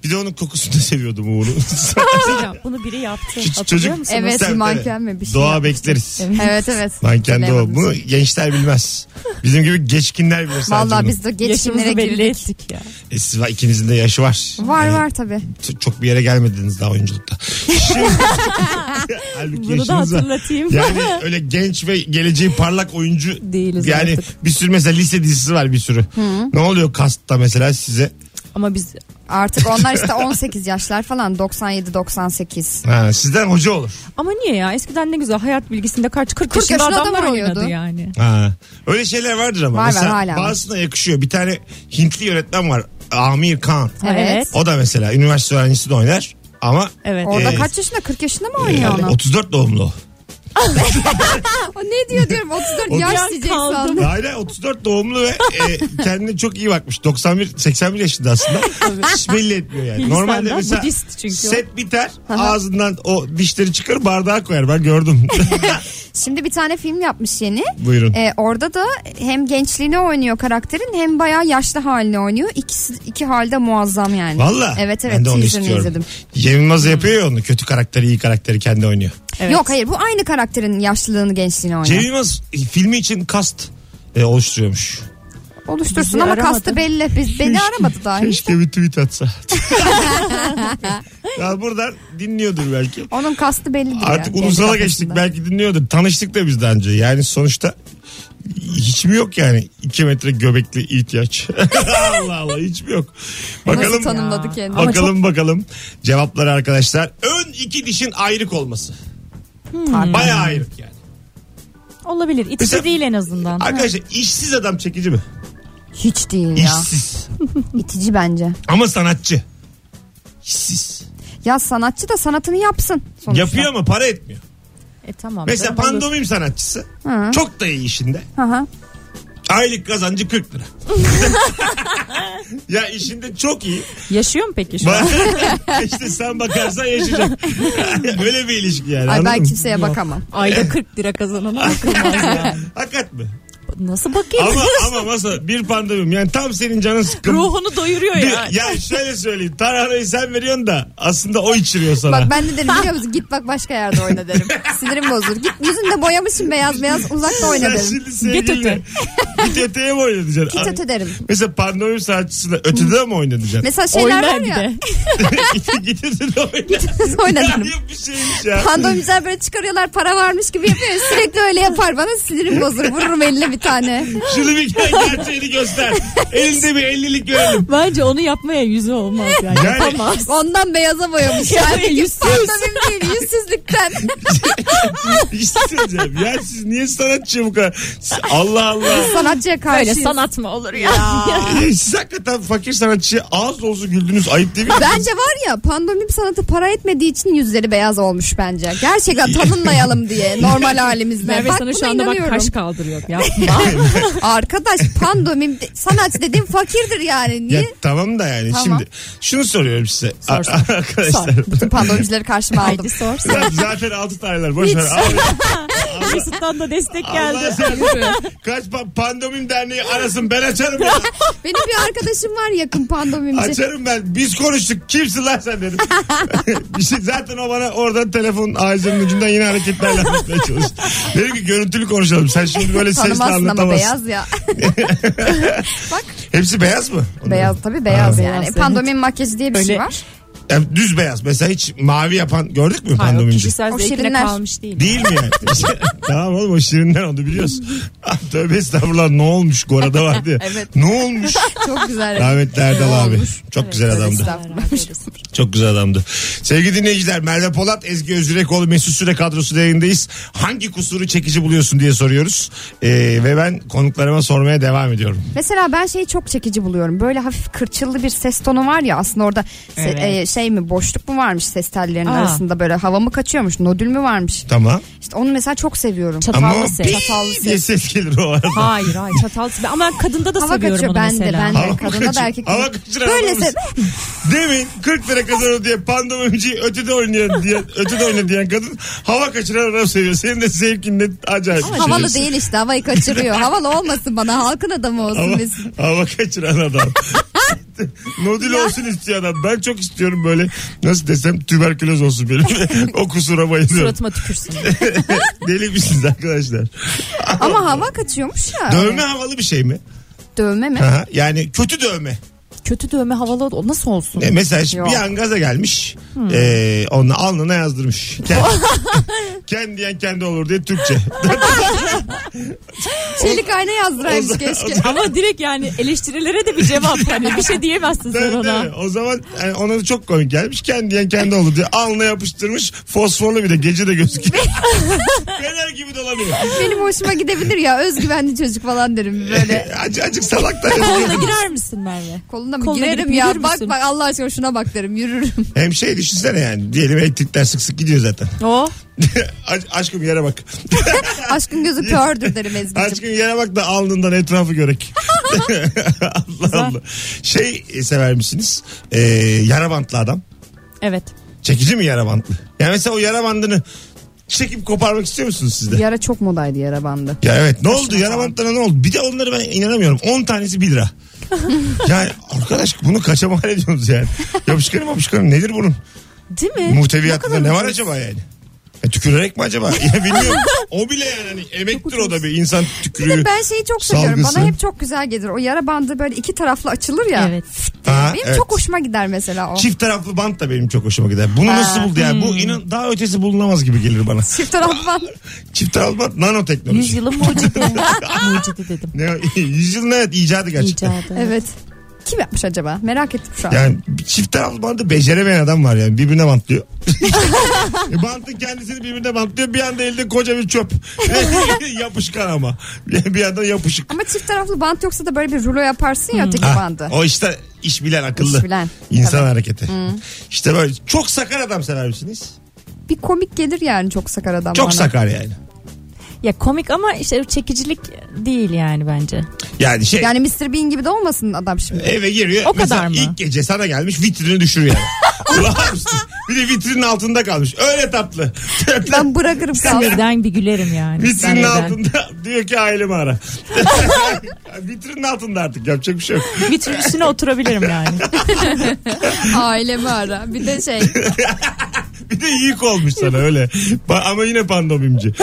[SPEAKER 2] Bir de onun kokusunu da seviyordum uğunu.
[SPEAKER 4] Hocam, şey bunu biri yaptı. Hatırlıyor
[SPEAKER 2] çocuk-
[SPEAKER 4] musunuz?
[SPEAKER 3] evet
[SPEAKER 2] Tabii, tabii.
[SPEAKER 3] manken mi bir şey?
[SPEAKER 2] Doğa
[SPEAKER 3] yapmış.
[SPEAKER 2] bekleriz.
[SPEAKER 3] Evet evet.
[SPEAKER 2] Manken de o.
[SPEAKER 3] Bilemedim.
[SPEAKER 2] Bunu gençler bilmez. Bizim gibi geçkinler bilir sadece.
[SPEAKER 3] Vallahi
[SPEAKER 2] bunu.
[SPEAKER 3] biz de
[SPEAKER 4] Yaşımızı
[SPEAKER 3] geçimlere
[SPEAKER 4] belli
[SPEAKER 3] girdik.
[SPEAKER 4] ettik ya.
[SPEAKER 2] E, siz var, ikinizin de yaşı var.
[SPEAKER 3] Var
[SPEAKER 2] E,
[SPEAKER 3] var tabii.
[SPEAKER 2] t- çok bir yere gelmediniz daha oyunculukta. Şimdi, Halbuki
[SPEAKER 4] Bunu
[SPEAKER 2] yaşınız
[SPEAKER 4] da
[SPEAKER 2] var.
[SPEAKER 4] hatırlatayım.
[SPEAKER 2] Yani öyle genç ve geleceği parlak oyuncu
[SPEAKER 6] Değiliz
[SPEAKER 2] yani
[SPEAKER 6] artık.
[SPEAKER 2] bir sürü mesela lise dizisi var bir sürü. Ne oluyor kastta mesela size?
[SPEAKER 6] Ama biz
[SPEAKER 3] Artık onlar işte 18 yaşlar falan 97 98.
[SPEAKER 2] Ha, sizden hoca olur.
[SPEAKER 4] Ama niye ya? Eskiden ne güzel hayat bilgisinde kaç 40,
[SPEAKER 3] 40
[SPEAKER 4] yaşında
[SPEAKER 3] yaşında adam
[SPEAKER 4] adamlar
[SPEAKER 3] oynuyordu.
[SPEAKER 4] oynadı yani.
[SPEAKER 2] Ha. Öyle şeyler vardır ama
[SPEAKER 3] Var, var,
[SPEAKER 2] mesela
[SPEAKER 3] hala var.
[SPEAKER 2] bazısına yakışıyor. Bir tane Hintli yönetmen var. Amir Khan.
[SPEAKER 3] Evet.
[SPEAKER 2] O da mesela üniversite öğrencisi de oynar ama
[SPEAKER 4] Evet.
[SPEAKER 3] Orada
[SPEAKER 2] Ee,
[SPEAKER 3] kaç yaşında 40 yaşında mı
[SPEAKER 2] e,
[SPEAKER 3] oynuyor onu?
[SPEAKER 2] 34 doğumlu. o.
[SPEAKER 3] O ne diyor diyorum 34 yaş
[SPEAKER 4] Otuz-
[SPEAKER 3] diyecek
[SPEAKER 4] Kaldım.
[SPEAKER 3] sandım.
[SPEAKER 2] Aynen 34 doğumlu ve e, kendine çok iyi bakmış. 91 81 yaşında aslında. Hiç belli etmiyor yani.
[SPEAKER 4] Hindistan'da
[SPEAKER 2] Normalde mesela
[SPEAKER 4] Budist çünkü o.
[SPEAKER 2] set biter. ağzından o dişleri çıkar bardağa koyar. Ben gördüm.
[SPEAKER 3] Şimdi bir tane film yapmış yeni.
[SPEAKER 2] Buyurun.
[SPEAKER 3] Ee, orada da hem gençliğini oynuyor karakterin hem bayağı yaşlı halini oynuyor. İkisi iki halde muazzam yani.
[SPEAKER 2] Valla.
[SPEAKER 3] Evet evet
[SPEAKER 2] Ben de onu
[SPEAKER 3] teaserını
[SPEAKER 2] istiyorum.
[SPEAKER 3] izledim.
[SPEAKER 2] Cem Yılmaz yapıyor ya onu. Kötü karakteri iyi karakteri kendi oynuyor.
[SPEAKER 4] Evet.
[SPEAKER 3] Yok hayır bu aynı karakterin yaşlılığını gençliğini oynuyor.
[SPEAKER 2] Cem Yılmaz e, filmi için kast e, oluşturuyormuş.
[SPEAKER 3] Oluştursun
[SPEAKER 4] Bizi
[SPEAKER 3] ama
[SPEAKER 4] aramadı.
[SPEAKER 3] kastı belli. Biz, beni aramadı daha.
[SPEAKER 2] Keşke bir tweet atsa. ya buradan dinliyordur belki.
[SPEAKER 3] Onun kastı belli değil.
[SPEAKER 2] Artık
[SPEAKER 3] yani,
[SPEAKER 2] ulusala
[SPEAKER 3] kendi
[SPEAKER 2] geçtik
[SPEAKER 3] kafasında.
[SPEAKER 2] belki dinliyordur. Tanıştık da biz daha önce. Yani sonuçta hiç mi yok yani 2 metre göbekli ihtiyaç? Allah Allah hiç mi yok? Bakalım
[SPEAKER 3] Nasıl tanımladı kendini?
[SPEAKER 2] bakalım bakalım cevapları arkadaşlar. Ön iki dişin ayrık olması.
[SPEAKER 3] Hmm.
[SPEAKER 2] Bayağı ayrık yani.
[SPEAKER 4] Olabilir. İtici
[SPEAKER 2] Mesela-
[SPEAKER 4] değil en azından.
[SPEAKER 2] Arkadaşlar işsiz adam çekici mi?
[SPEAKER 3] Hiç değil ya.
[SPEAKER 2] İşsiz.
[SPEAKER 3] İtici bence.
[SPEAKER 2] Ama sanatçı. İşsiz.
[SPEAKER 3] Ya sanatçı da sanatını yapsın. Sonuçta.
[SPEAKER 2] Yapıyor ama para etmiyor.
[SPEAKER 6] e, tamam.
[SPEAKER 2] Mesela
[SPEAKER 6] Olur.
[SPEAKER 2] pandomim sanatçısı.
[SPEAKER 3] Hı.
[SPEAKER 2] Çok da iyi işinde.
[SPEAKER 3] Hı hı.
[SPEAKER 2] Aylık kazancı 40 lira. ya işinde çok iyi.
[SPEAKER 4] Yaşıyor mu peki şu an?
[SPEAKER 2] işte sen bakarsan yaşayacak. Öyle bir ilişki yani.
[SPEAKER 3] Ay
[SPEAKER 2] anladın
[SPEAKER 3] ben
[SPEAKER 2] mı?
[SPEAKER 3] kimseye bakamam.
[SPEAKER 4] Ayda 40 lira kazanana bakılmaz yani.
[SPEAKER 2] Hakikat mi?
[SPEAKER 4] Nasıl bakayım?
[SPEAKER 2] Ama ama masa bir pandemim yani tam senin canın sıkın.
[SPEAKER 4] Ruhunu doyuruyor
[SPEAKER 2] Bir-
[SPEAKER 4] yani.
[SPEAKER 2] ya şöyle söyleyeyim. Tarhanayı sen veriyorsun da aslında o içiriyor sana.
[SPEAKER 3] Bak ben de derim biliyor musun git bak başka yerde oyna derim. Sinirim bozulur. Git yüzünde boyamışım beyaz beyaz uzakta oyna
[SPEAKER 2] Sen
[SPEAKER 3] derim.
[SPEAKER 2] şimdi sevgilinle git öteye mi oynatacaksın?
[SPEAKER 3] Git öte derim.
[SPEAKER 2] Mesela pandemim sanatçısına ötede mi oynatacaksın?
[SPEAKER 3] Mesela şeyler
[SPEAKER 4] Oynar
[SPEAKER 3] var
[SPEAKER 4] bir
[SPEAKER 3] ya.
[SPEAKER 4] de.
[SPEAKER 2] git, git ötede oyna.
[SPEAKER 3] oyna derim.
[SPEAKER 2] Ya bir şeymiş ya.
[SPEAKER 3] Pandomimizler böyle çıkarıyorlar para varmış gibi yapıyor. Sürekli öyle yapar bana sinirim bozulur. Vururum eline bir tane.
[SPEAKER 2] Şunu bir kere gerçeğini göster. Elinde bir ellilik görelim.
[SPEAKER 4] Bence onu yapmaya yüzü olmaz yani.
[SPEAKER 2] Yani-
[SPEAKER 4] Yapamaz.
[SPEAKER 3] Ondan beyaza boyamış.
[SPEAKER 4] Ya,
[SPEAKER 3] Yani
[SPEAKER 4] yüzsüz.
[SPEAKER 3] Pandomim değil yüzsüzlükten.
[SPEAKER 2] İşte şey söyleyeceğim. Ya siz niye sanatçıya bu kadar? Allah Allah.
[SPEAKER 3] Sanatçıya
[SPEAKER 4] Böyle
[SPEAKER 3] karşı.
[SPEAKER 4] sanat mı olur ya?
[SPEAKER 2] Ya siz hakikaten fakir sanatçıya ağız olsun güldünüz. Ayıp değil mi?
[SPEAKER 3] Bence var ya pandomim sanatı para etmediği için yüzleri beyaz olmuş bence. Gerçekten tanınmayalım diye normal halimizde.
[SPEAKER 4] Merve
[SPEAKER 3] bak,
[SPEAKER 4] sana
[SPEAKER 3] buna
[SPEAKER 4] şu anda bak
[SPEAKER 3] inanıyorum.
[SPEAKER 4] kaş kaldırıyor. Yapma.
[SPEAKER 3] Arkadaş pandomim de- sanatçı dediğim fakirdir yani. Niye?
[SPEAKER 2] Ya tamam da yani
[SPEAKER 3] Tamam.
[SPEAKER 2] şimdi şunu soruyorum size A- arkadaşlar.
[SPEAKER 3] Bütün pandomimcileri karşıma aldım.
[SPEAKER 4] Haydi sor.
[SPEAKER 2] Zaten- Zaten altı taneler boş ver. Abi,
[SPEAKER 4] Mesut'tan da destek
[SPEAKER 2] Allah
[SPEAKER 4] geldi.
[SPEAKER 2] sen kaç pa- pandomim derneği arasın ben açarım ya.
[SPEAKER 3] Benim bir arkadaşım var yakın pandomimci.
[SPEAKER 2] Açarım ben. Biz konuştuk. Kimsin lan sen dedim. Bir şey- zaten o bana oradan telefon ağzının ucundan yine hareketlerle anlatmaya çalıştı. Dedim ki görüntülü konuşalım. Sen şimdi böyle sesle
[SPEAKER 3] Tanımazsın ama
[SPEAKER 2] anlatamazsın.
[SPEAKER 3] beyaz ya.
[SPEAKER 2] Hepsi beyaz mı?
[SPEAKER 3] beyaz tabii beyaz
[SPEAKER 4] Aa.
[SPEAKER 3] yani.
[SPEAKER 4] Beyaz,
[SPEAKER 3] pandomim makyajı diye bir şey
[SPEAKER 4] Böyle
[SPEAKER 3] var.
[SPEAKER 2] Yani düz beyaz mesela hiç mavi yapan gördük mü
[SPEAKER 6] Hayır, o
[SPEAKER 2] pandomimci?
[SPEAKER 6] kişisel
[SPEAKER 3] O
[SPEAKER 6] zevkine
[SPEAKER 3] şirinler.
[SPEAKER 6] kalmış değil.
[SPEAKER 2] Değil mi yani? tamam oğlum o şirinden oldu biliyorsun. Ah, Tövbe estağfurullah ne olmuş Gora'da vardı ya.
[SPEAKER 6] Evet.
[SPEAKER 2] Ne olmuş?
[SPEAKER 3] Çok güzel.
[SPEAKER 2] Rahmetli Erdal abi. Çok güzel adamdı.
[SPEAKER 6] Estağfurullah.
[SPEAKER 2] Çok güzel adamdı. Sevgili dinleyiciler Merve Polat, Ezgi Özürekoğlu, Mesut Süre kadrosu yayındayız. Hangi kusuru çekici buluyorsun diye soruyoruz. Ee, ve ben konuklarıma sormaya devam ediyorum.
[SPEAKER 3] Mesela ben şeyi çok çekici buluyorum. Böyle hafif kırçıllı bir ses tonu var ya aslında orada se-
[SPEAKER 6] Evet.
[SPEAKER 3] e, şey mi boşluk mu varmış ses tellerinin
[SPEAKER 6] Aa.
[SPEAKER 3] arasında böyle hava mı kaçıyormuş nodül mü varmış.
[SPEAKER 2] Tamam.
[SPEAKER 3] İşte onu mesela çok seviyorum.
[SPEAKER 2] Ama
[SPEAKER 6] Çatallı ses.
[SPEAKER 2] pi diye ses gelir o arada.
[SPEAKER 6] Hayır hayır çatal sesi. Ama ben kadında da
[SPEAKER 3] Hava
[SPEAKER 6] seviyorum
[SPEAKER 3] kaçıyor
[SPEAKER 6] onu
[SPEAKER 3] ben
[SPEAKER 6] mesela.
[SPEAKER 3] de ben
[SPEAKER 2] Hava
[SPEAKER 3] de kadına
[SPEAKER 2] kaçıyor.
[SPEAKER 3] da erkek.
[SPEAKER 2] Hava kaçıran
[SPEAKER 3] Böyle
[SPEAKER 2] adamız.
[SPEAKER 3] se-
[SPEAKER 2] Demin 40 lira kazanır diye pandomimci ötede oynayan diye ötede oynayan diyen kadın hava kaçıran adam seviyor. Senin de zevkinle acayip bir şey.
[SPEAKER 3] Havalı değil işte havayı kaçırıyor. Havalı olmasın bana halkın adamı olsun
[SPEAKER 2] Hava,
[SPEAKER 3] Mesut.
[SPEAKER 2] hava kaçıran adam. Nodül olsun istiyor adam. Ben çok istiyorum böyle nasıl desem tüberküloz olsun benim. o kusura bayılıyorum.
[SPEAKER 6] Suratıma tükürsün.
[SPEAKER 2] Deli misiniz arkadaşlar?
[SPEAKER 3] Ama hava kaçıyormuş ya.
[SPEAKER 2] Dövme havalı bir şey mi?
[SPEAKER 3] Dövme mi?
[SPEAKER 2] Aha, yani kötü dövme.
[SPEAKER 6] Kötü dövme havalı ol- nasıl olsun?
[SPEAKER 2] E, mesela şimdi
[SPEAKER 3] Yok.
[SPEAKER 2] bir an gaza gelmiş. E, onunla alnına yazdırmış. Kendi, kendi diyen kendi olur diye Türkçe.
[SPEAKER 3] Çelik ayna yazdıraymış keşke.
[SPEAKER 6] Ama direkt yani eleştirilere de bir cevap. Hani bir şey diyemezsin sen
[SPEAKER 2] Tabii,
[SPEAKER 6] ona.
[SPEAKER 2] tabii. O zaman yani ona da çok komik gelmiş. Kendi diyen kendi oldu diye alnına yapıştırmış. Fosforlu bir de gece de gözüküyor. Fener gibi dolanıyor.
[SPEAKER 3] Benim hoşuma gidebilir ya özgüvenli çocuk falan derim böyle.
[SPEAKER 2] Acı acık salak da.
[SPEAKER 6] Koluna girer misin Merve?
[SPEAKER 3] Koluna mı
[SPEAKER 6] Koluna
[SPEAKER 3] girerim
[SPEAKER 6] girip
[SPEAKER 3] ya
[SPEAKER 6] yürür
[SPEAKER 3] bak
[SPEAKER 6] müsün?
[SPEAKER 3] bak Allah aşkına şuna bak derim yürürüm.
[SPEAKER 2] Hem şey düşünsene yani. Diyelim elektrikler sık sık gidiyor zaten.
[SPEAKER 6] O.
[SPEAKER 2] A- aşkım yere bak.
[SPEAKER 3] Aşkın gözü kördür derim Ezgi'cim.
[SPEAKER 2] aşkım yere bak da alnından etrafı görek. Allah Allah. Şey e, sever misiniz? Ee, yara bantlı adam.
[SPEAKER 6] Evet.
[SPEAKER 2] Çekici mi yara bantlı? Yani mesela o yara bandını çekip koparmak istiyor musunuz siz de?
[SPEAKER 3] Yara çok modaydı yara bandı.
[SPEAKER 2] Ya evet ne oldu yara bantlarına ne oldu? Bir de onları ben inanamıyorum. 10 tanesi 1 lira. yani arkadaş bunu kaça mal ediyorsunuz yani? Yapışkanım yapışkanım nedir bunun?
[SPEAKER 6] Değil mi?
[SPEAKER 2] Muhteviyatında
[SPEAKER 6] kadar
[SPEAKER 2] ne var
[SPEAKER 6] ucuz.
[SPEAKER 2] acaba yani? Ya tükürerek mi acaba? Ya bilmiyorum. o bile yani hani emektir o da bir insan
[SPEAKER 3] Bir de
[SPEAKER 2] tükürüğü.
[SPEAKER 3] ben şeyi çok seviyorum.
[SPEAKER 2] Salgısı.
[SPEAKER 3] Bana hep çok güzel gelir. O yara bandı böyle iki taraflı açılır ya.
[SPEAKER 6] Evet.
[SPEAKER 2] Ha,
[SPEAKER 3] Benim
[SPEAKER 2] evet.
[SPEAKER 3] çok hoşuma gider mesela o.
[SPEAKER 2] Çift taraflı bant da benim çok hoşuma gider. Bunu nasıl buldu yani? Bu inan daha ötesi bulunamaz gibi gelir bana.
[SPEAKER 3] Çift taraflı bant.
[SPEAKER 2] Çift taraflı bant nanoteknoloji.
[SPEAKER 6] Yüzyılın mucidi. mucidi dedim.
[SPEAKER 2] Ne, yüzyılın evet icadı gerçekten.
[SPEAKER 6] İcadı.
[SPEAKER 3] Evet. Kim yapmış acaba? Merak ettim şu an.
[SPEAKER 2] Yani çift taraflı bandı beceremeyen adam var yani. Birbirine bantlıyor. E, Bantın kendisini birbirine bantlıyor. Bir anda elde koca bir çöp. Yapışkan ama. Bir yandan yapışık.
[SPEAKER 3] Ama çift taraflı bant yoksa da böyle bir rulo yaparsın ya öteki
[SPEAKER 2] Ha,
[SPEAKER 3] bandı.
[SPEAKER 2] O işte iş bilen akıllı.
[SPEAKER 3] İş bilen.
[SPEAKER 2] İnsan
[SPEAKER 3] Tabii.
[SPEAKER 2] hareketi. İşte böyle çok sakar adam sever misiniz?
[SPEAKER 3] Bir komik gelir yani çok sakar adam
[SPEAKER 2] Çok
[SPEAKER 3] bana.
[SPEAKER 2] sakar yani.
[SPEAKER 6] Ya komik ama işte çekicilik değil yani bence.
[SPEAKER 2] Yani şey
[SPEAKER 3] Yani Mr. Bean gibi de olmasın adam şimdi.
[SPEAKER 2] eve giriyor.
[SPEAKER 6] O
[SPEAKER 2] mesela
[SPEAKER 6] kadar mı?
[SPEAKER 2] İlk gece sana gelmiş vitrini düşürüyor. Kulağır mısın? Bir de vitrinin altında kalmış. Öyle tatlı.
[SPEAKER 3] Ben bırakırım kaldım.
[SPEAKER 6] Sinirden bir gülerim yani. Ben
[SPEAKER 2] Vitrinin
[SPEAKER 6] evden.
[SPEAKER 2] altında diyor ki ailemi ara. Vitrinin altında artık yapacak bir şey yok.
[SPEAKER 6] Vitrin üstüne oturabilirim yani.
[SPEAKER 3] Ailemi ara. Bir de şey.
[SPEAKER 2] Bir de yiyik olmuş sana öyle. Ba- Ama yine pandomimci.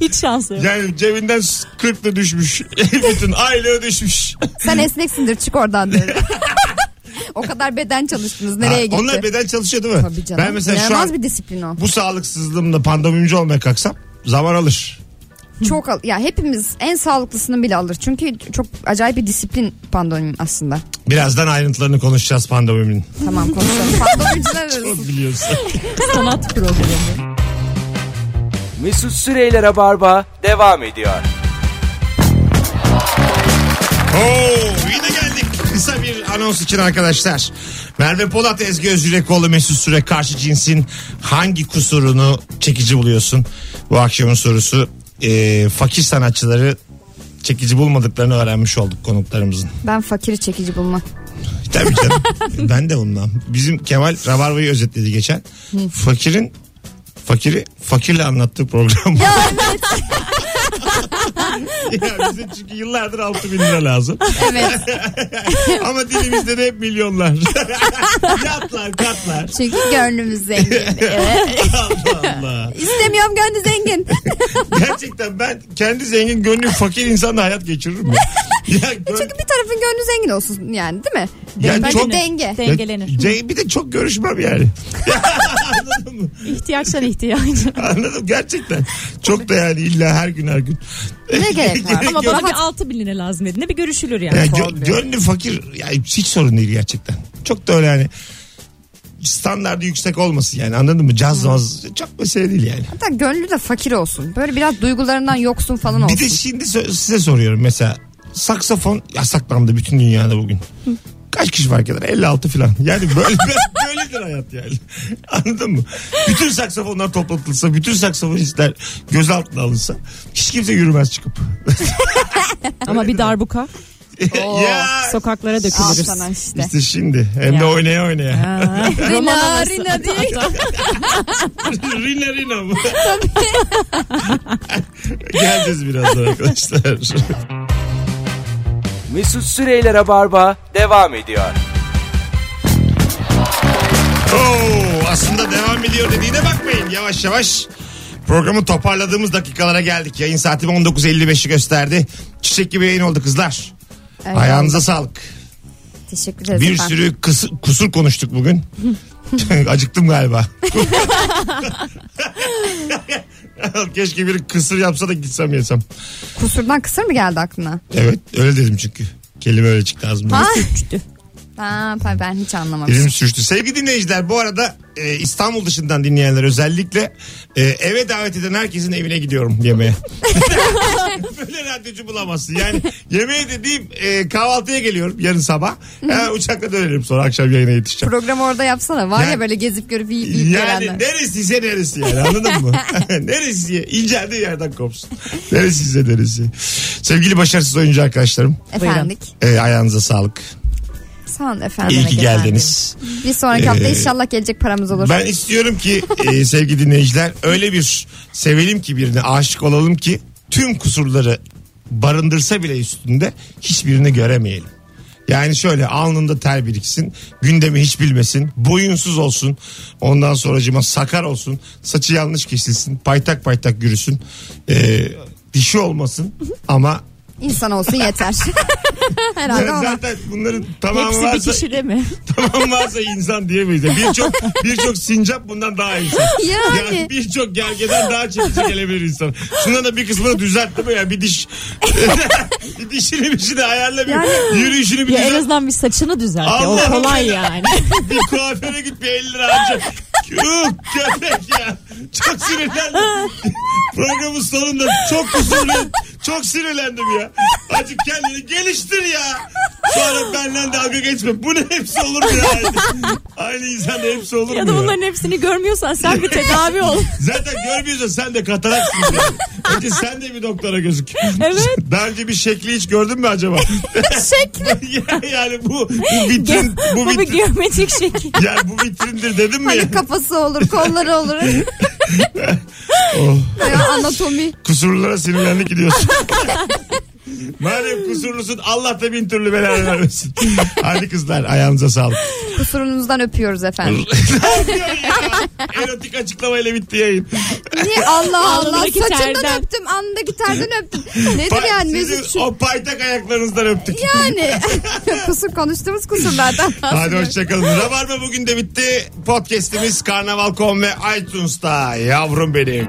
[SPEAKER 6] Hiç şansı yok.
[SPEAKER 2] yani cebinden 40 da düşmüş. Bütün aile düşmüş.
[SPEAKER 3] Sen esneksindir çık oradan derim. o kadar beden çalıştınız nereye
[SPEAKER 2] Ha,
[SPEAKER 3] gitti?
[SPEAKER 2] Onlar beden çalışıyor değil mi?
[SPEAKER 3] Tabii canım.
[SPEAKER 2] Ben mesela şu
[SPEAKER 3] İnanılmaz
[SPEAKER 2] an
[SPEAKER 3] bir disiplin o.
[SPEAKER 2] bu sağlıksızlığımla pandomimci olmaya kalksam zaman alır.
[SPEAKER 3] Çok al- ya hepimiz en sağlıklısını bile alır. Çünkü çok acayip bir disiplin pandomim aslında.
[SPEAKER 2] Birazdan ayrıntılarını konuşacağız pandomimin.
[SPEAKER 3] Tamam konuşalım. Pandomimciler arası.
[SPEAKER 2] Biliyorsun.
[SPEAKER 6] Sanat programı.
[SPEAKER 1] Mesut Süreyler'e barba devam ediyor.
[SPEAKER 2] Oo, yine geldik. Kısa bir anons için arkadaşlar. Merve Polat, Ezgi Özürekoğlu, Mesut Süre karşı cinsin hangi kusurunu çekici buluyorsun? Bu akşamın sorusu Ee, fakir sanatçıları çekici bulmadıklarını öğrenmiş olduk konuklarımızın.
[SPEAKER 3] Ben fakiri çekici bulmam.
[SPEAKER 2] Tabii canım. ben de bundan. Bizim Kemal Rabarba'yı özetledi geçen. Fakirin Fakiri fakirle anlattığı program. Ya bize çünkü yıllardır 6 bin lira lazım.
[SPEAKER 3] Evet.
[SPEAKER 2] Ama dilimizde de hep milyonlar. Yatlar katlar.
[SPEAKER 3] Çünkü gönlümüz zengin.
[SPEAKER 2] Allah Allah.
[SPEAKER 3] İstemiyorum gönlü zengin.
[SPEAKER 2] Gerçekten ben kendi zengin gönlü fakir insanla hayat geçiririm. ya. Ya, gör-
[SPEAKER 3] Çünkü bir tarafın gönlü zengin olsun yani değil mi?
[SPEAKER 2] Ya
[SPEAKER 3] Bence
[SPEAKER 2] çok-
[SPEAKER 3] denge.
[SPEAKER 2] Ya,
[SPEAKER 6] dengelenir.
[SPEAKER 2] ce- bir de çok görüşmem yani. Anladın mı?
[SPEAKER 6] İhtiyaçtan ihtiyaca.
[SPEAKER 2] Anladım gerçekten. Çok da yani illa her gün her gün.
[SPEAKER 3] Ne gerek var?
[SPEAKER 4] Ama
[SPEAKER 2] yok.
[SPEAKER 4] bana bir altı binine lazım dediğinde bir görüşülür yani.
[SPEAKER 2] Ya, gö- gönlü fakir yani hiç sorun değil gerçekten. Çok da öyle yani standardı yüksek olmasın yani anladın mı? Caz maz çok mesele değil yani.
[SPEAKER 3] Hatta gönlü de fakir olsun. Böyle biraz duygularından yoksun falan olsun.
[SPEAKER 2] Bir de şey şimdi sö- size soruyorum mesela saksafon yasaklandı bütün dünyada bugün. Kaç kişi fark eder? 56 falan. Yani böyle böyledir hayat yani. Anladın mı? Bütün saksafonlar toplatılsa, bütün saksafonistler gözaltına alınsa hiç kimse yürümez çıkıp.
[SPEAKER 4] Ama bir darbuka
[SPEAKER 2] ya
[SPEAKER 4] sokaklara
[SPEAKER 3] Al
[SPEAKER 4] dökülürüz.
[SPEAKER 3] sana işte.
[SPEAKER 2] işte şimdi hem de
[SPEAKER 4] Ya.
[SPEAKER 2] oynaya oynaya.
[SPEAKER 4] Aa, roman
[SPEAKER 3] Rina
[SPEAKER 4] havası.
[SPEAKER 3] Rina diye.
[SPEAKER 2] Rina Rina mı? Geleceğiz birazdan arkadaşlar.
[SPEAKER 1] Mesut Süreyler'e barba devam ediyor.
[SPEAKER 2] Oo, aslında devam ediyor dediğine bakmayın. Yavaş yavaş programı toparladığımız dakikalara geldik. Yayın saati 19.55'i gösterdi. Çiçek gibi yayın oldu kızlar.
[SPEAKER 3] Öyle
[SPEAKER 2] Ayağınıza sağlık.
[SPEAKER 3] Teşekkür ederiz
[SPEAKER 2] Bir
[SPEAKER 3] efendim.
[SPEAKER 2] sürü kısı- kusur konuştuk bugün. Acıktım galiba. Keşke biri kısır yapsa da gitsem yesem.
[SPEAKER 3] Kusurdan kısır mı geldi aklına?
[SPEAKER 2] Evet öyle dedim çünkü. Kelime öyle çıktı ağzımdan.
[SPEAKER 3] Ha?
[SPEAKER 4] Üçtü.
[SPEAKER 3] Ha, pa- ben hiç anlamamışım.
[SPEAKER 2] Dilim sürçtü. Sevgili dinleyiciler bu arada e, İstanbul dışından dinleyenler özellikle e, eve davet eden herkesin evine gidiyorum yemeğe. Böyle radyocu bulamazsın. Yani yemeğe dediğim e, kahvaltıya geliyorum yarın sabah. Hemen uçakla dönerim sonra akşam yayına yetişeceğim.
[SPEAKER 3] Programı orada yapsana. Var
[SPEAKER 2] Yani-
[SPEAKER 3] ya böyle gezip görüp yiyip yiyip
[SPEAKER 2] Yani
[SPEAKER 3] gelenler.
[SPEAKER 2] neresiyse neresi yani anladın mı? neresi inceldiği yerden kopsun. Neresiyse neresi. Sevgili başarısız oyuncu arkadaşlarım
[SPEAKER 3] Efendik.
[SPEAKER 2] e, ayağınıza sağlık.
[SPEAKER 3] Sağ olun efendim.
[SPEAKER 2] İyi ki geldiniz.
[SPEAKER 3] Bir sonraki hafta
[SPEAKER 2] Ee,
[SPEAKER 3] inşallah gelecek paramız olur.
[SPEAKER 2] Ben istiyorum ki e, sevgili dinleyiciler öyle bir sevelim ki birine aşık olalım ki tüm kusurları barındırsa bile üstünde hiçbirini göremeyelim. Yani şöyle alnında ter biriksin, gündemi hiç bilmesin, boyunsuz olsun, ondan sonracıma sakar olsun, saçı yanlış kesilsin, paytak paytak yürüsün, e, dişi olmasın ama
[SPEAKER 3] İnsan olsun yeter. Herhalde ona.
[SPEAKER 2] zaten bunların tamamı
[SPEAKER 4] Hepsi bir
[SPEAKER 2] varsa,
[SPEAKER 4] kişide mi?
[SPEAKER 2] tamam varsa insan diyemeyiz. Yani Birçok birçok sincap bundan daha insan.
[SPEAKER 3] Yani.
[SPEAKER 2] Yani birçok gergeden daha çekici gelebilir insan. Şundan da bir kısmını düzeltti mi ya bir diş. bir dişini bir şey de ayarla bir. Yürüyüşünü bir
[SPEAKER 4] Ya en
[SPEAKER 2] düzelt.
[SPEAKER 4] azından bir saçını düzelt. ya,
[SPEAKER 2] Allah
[SPEAKER 4] O kolay
[SPEAKER 2] Allah.
[SPEAKER 4] yani.
[SPEAKER 2] Bir kuaföre git bir 50 lira harca. Yuh köpek ya. Çok sinirlendim. Programın sonunda çok kusurlu. Çok sinirlendim ya. Acık kendini geliştir ya. Sonra benden dalga geçme. Bu ne hepsi olur mu ya? Aynı insanda hepsi olur
[SPEAKER 4] Ya
[SPEAKER 2] mu
[SPEAKER 4] da
[SPEAKER 2] ya?
[SPEAKER 4] bunların hepsini görmüyorsan sen bir tedavi ol.
[SPEAKER 2] Zaten görmüyorsan sen de kataraksın. Yani. Önce sen de bir doktora gözük.
[SPEAKER 4] Evet.
[SPEAKER 2] Daha önce bir şekli hiç gördün mü acaba? Şekli. yani bu, bu vitrin. Bu
[SPEAKER 4] Bu bir
[SPEAKER 2] vitrin.
[SPEAKER 4] geometrik şekil.
[SPEAKER 2] Yani bu vitrindir dedim mi? ya?
[SPEAKER 3] Hani kafası olur, kolları olur.
[SPEAKER 2] Oh.
[SPEAKER 3] Böyle anatomi.
[SPEAKER 2] Kusurlulara sinirlendik gidiyorsun. Madem kusurlusun Allah da bin türlü belanı vermesin. Hadi kızlar ayağınıza sağlık.
[SPEAKER 3] Kusurunuzdan öpüyoruz efendim.
[SPEAKER 2] Ne diyor ya? Erotik açıklamayla bitti yayın.
[SPEAKER 3] Niye? Allah Allah.
[SPEAKER 4] Alnındaki
[SPEAKER 3] Saçından
[SPEAKER 4] terden.
[SPEAKER 3] öptüm, andaki terden öptüm. Nedir
[SPEAKER 2] Pa-
[SPEAKER 3] yani
[SPEAKER 2] sizin
[SPEAKER 3] müzik?
[SPEAKER 2] o paytak ayaklarınızdan öptük.
[SPEAKER 3] Yani kusur konuştuğumuz kusurlardan.
[SPEAKER 2] Hadi
[SPEAKER 3] bahsediyorum.
[SPEAKER 2] hoşçakalın. Rabarba bugün de bitti. Podcast'imiz Karnaval.com ve iTunes'ta. Yavrum benim.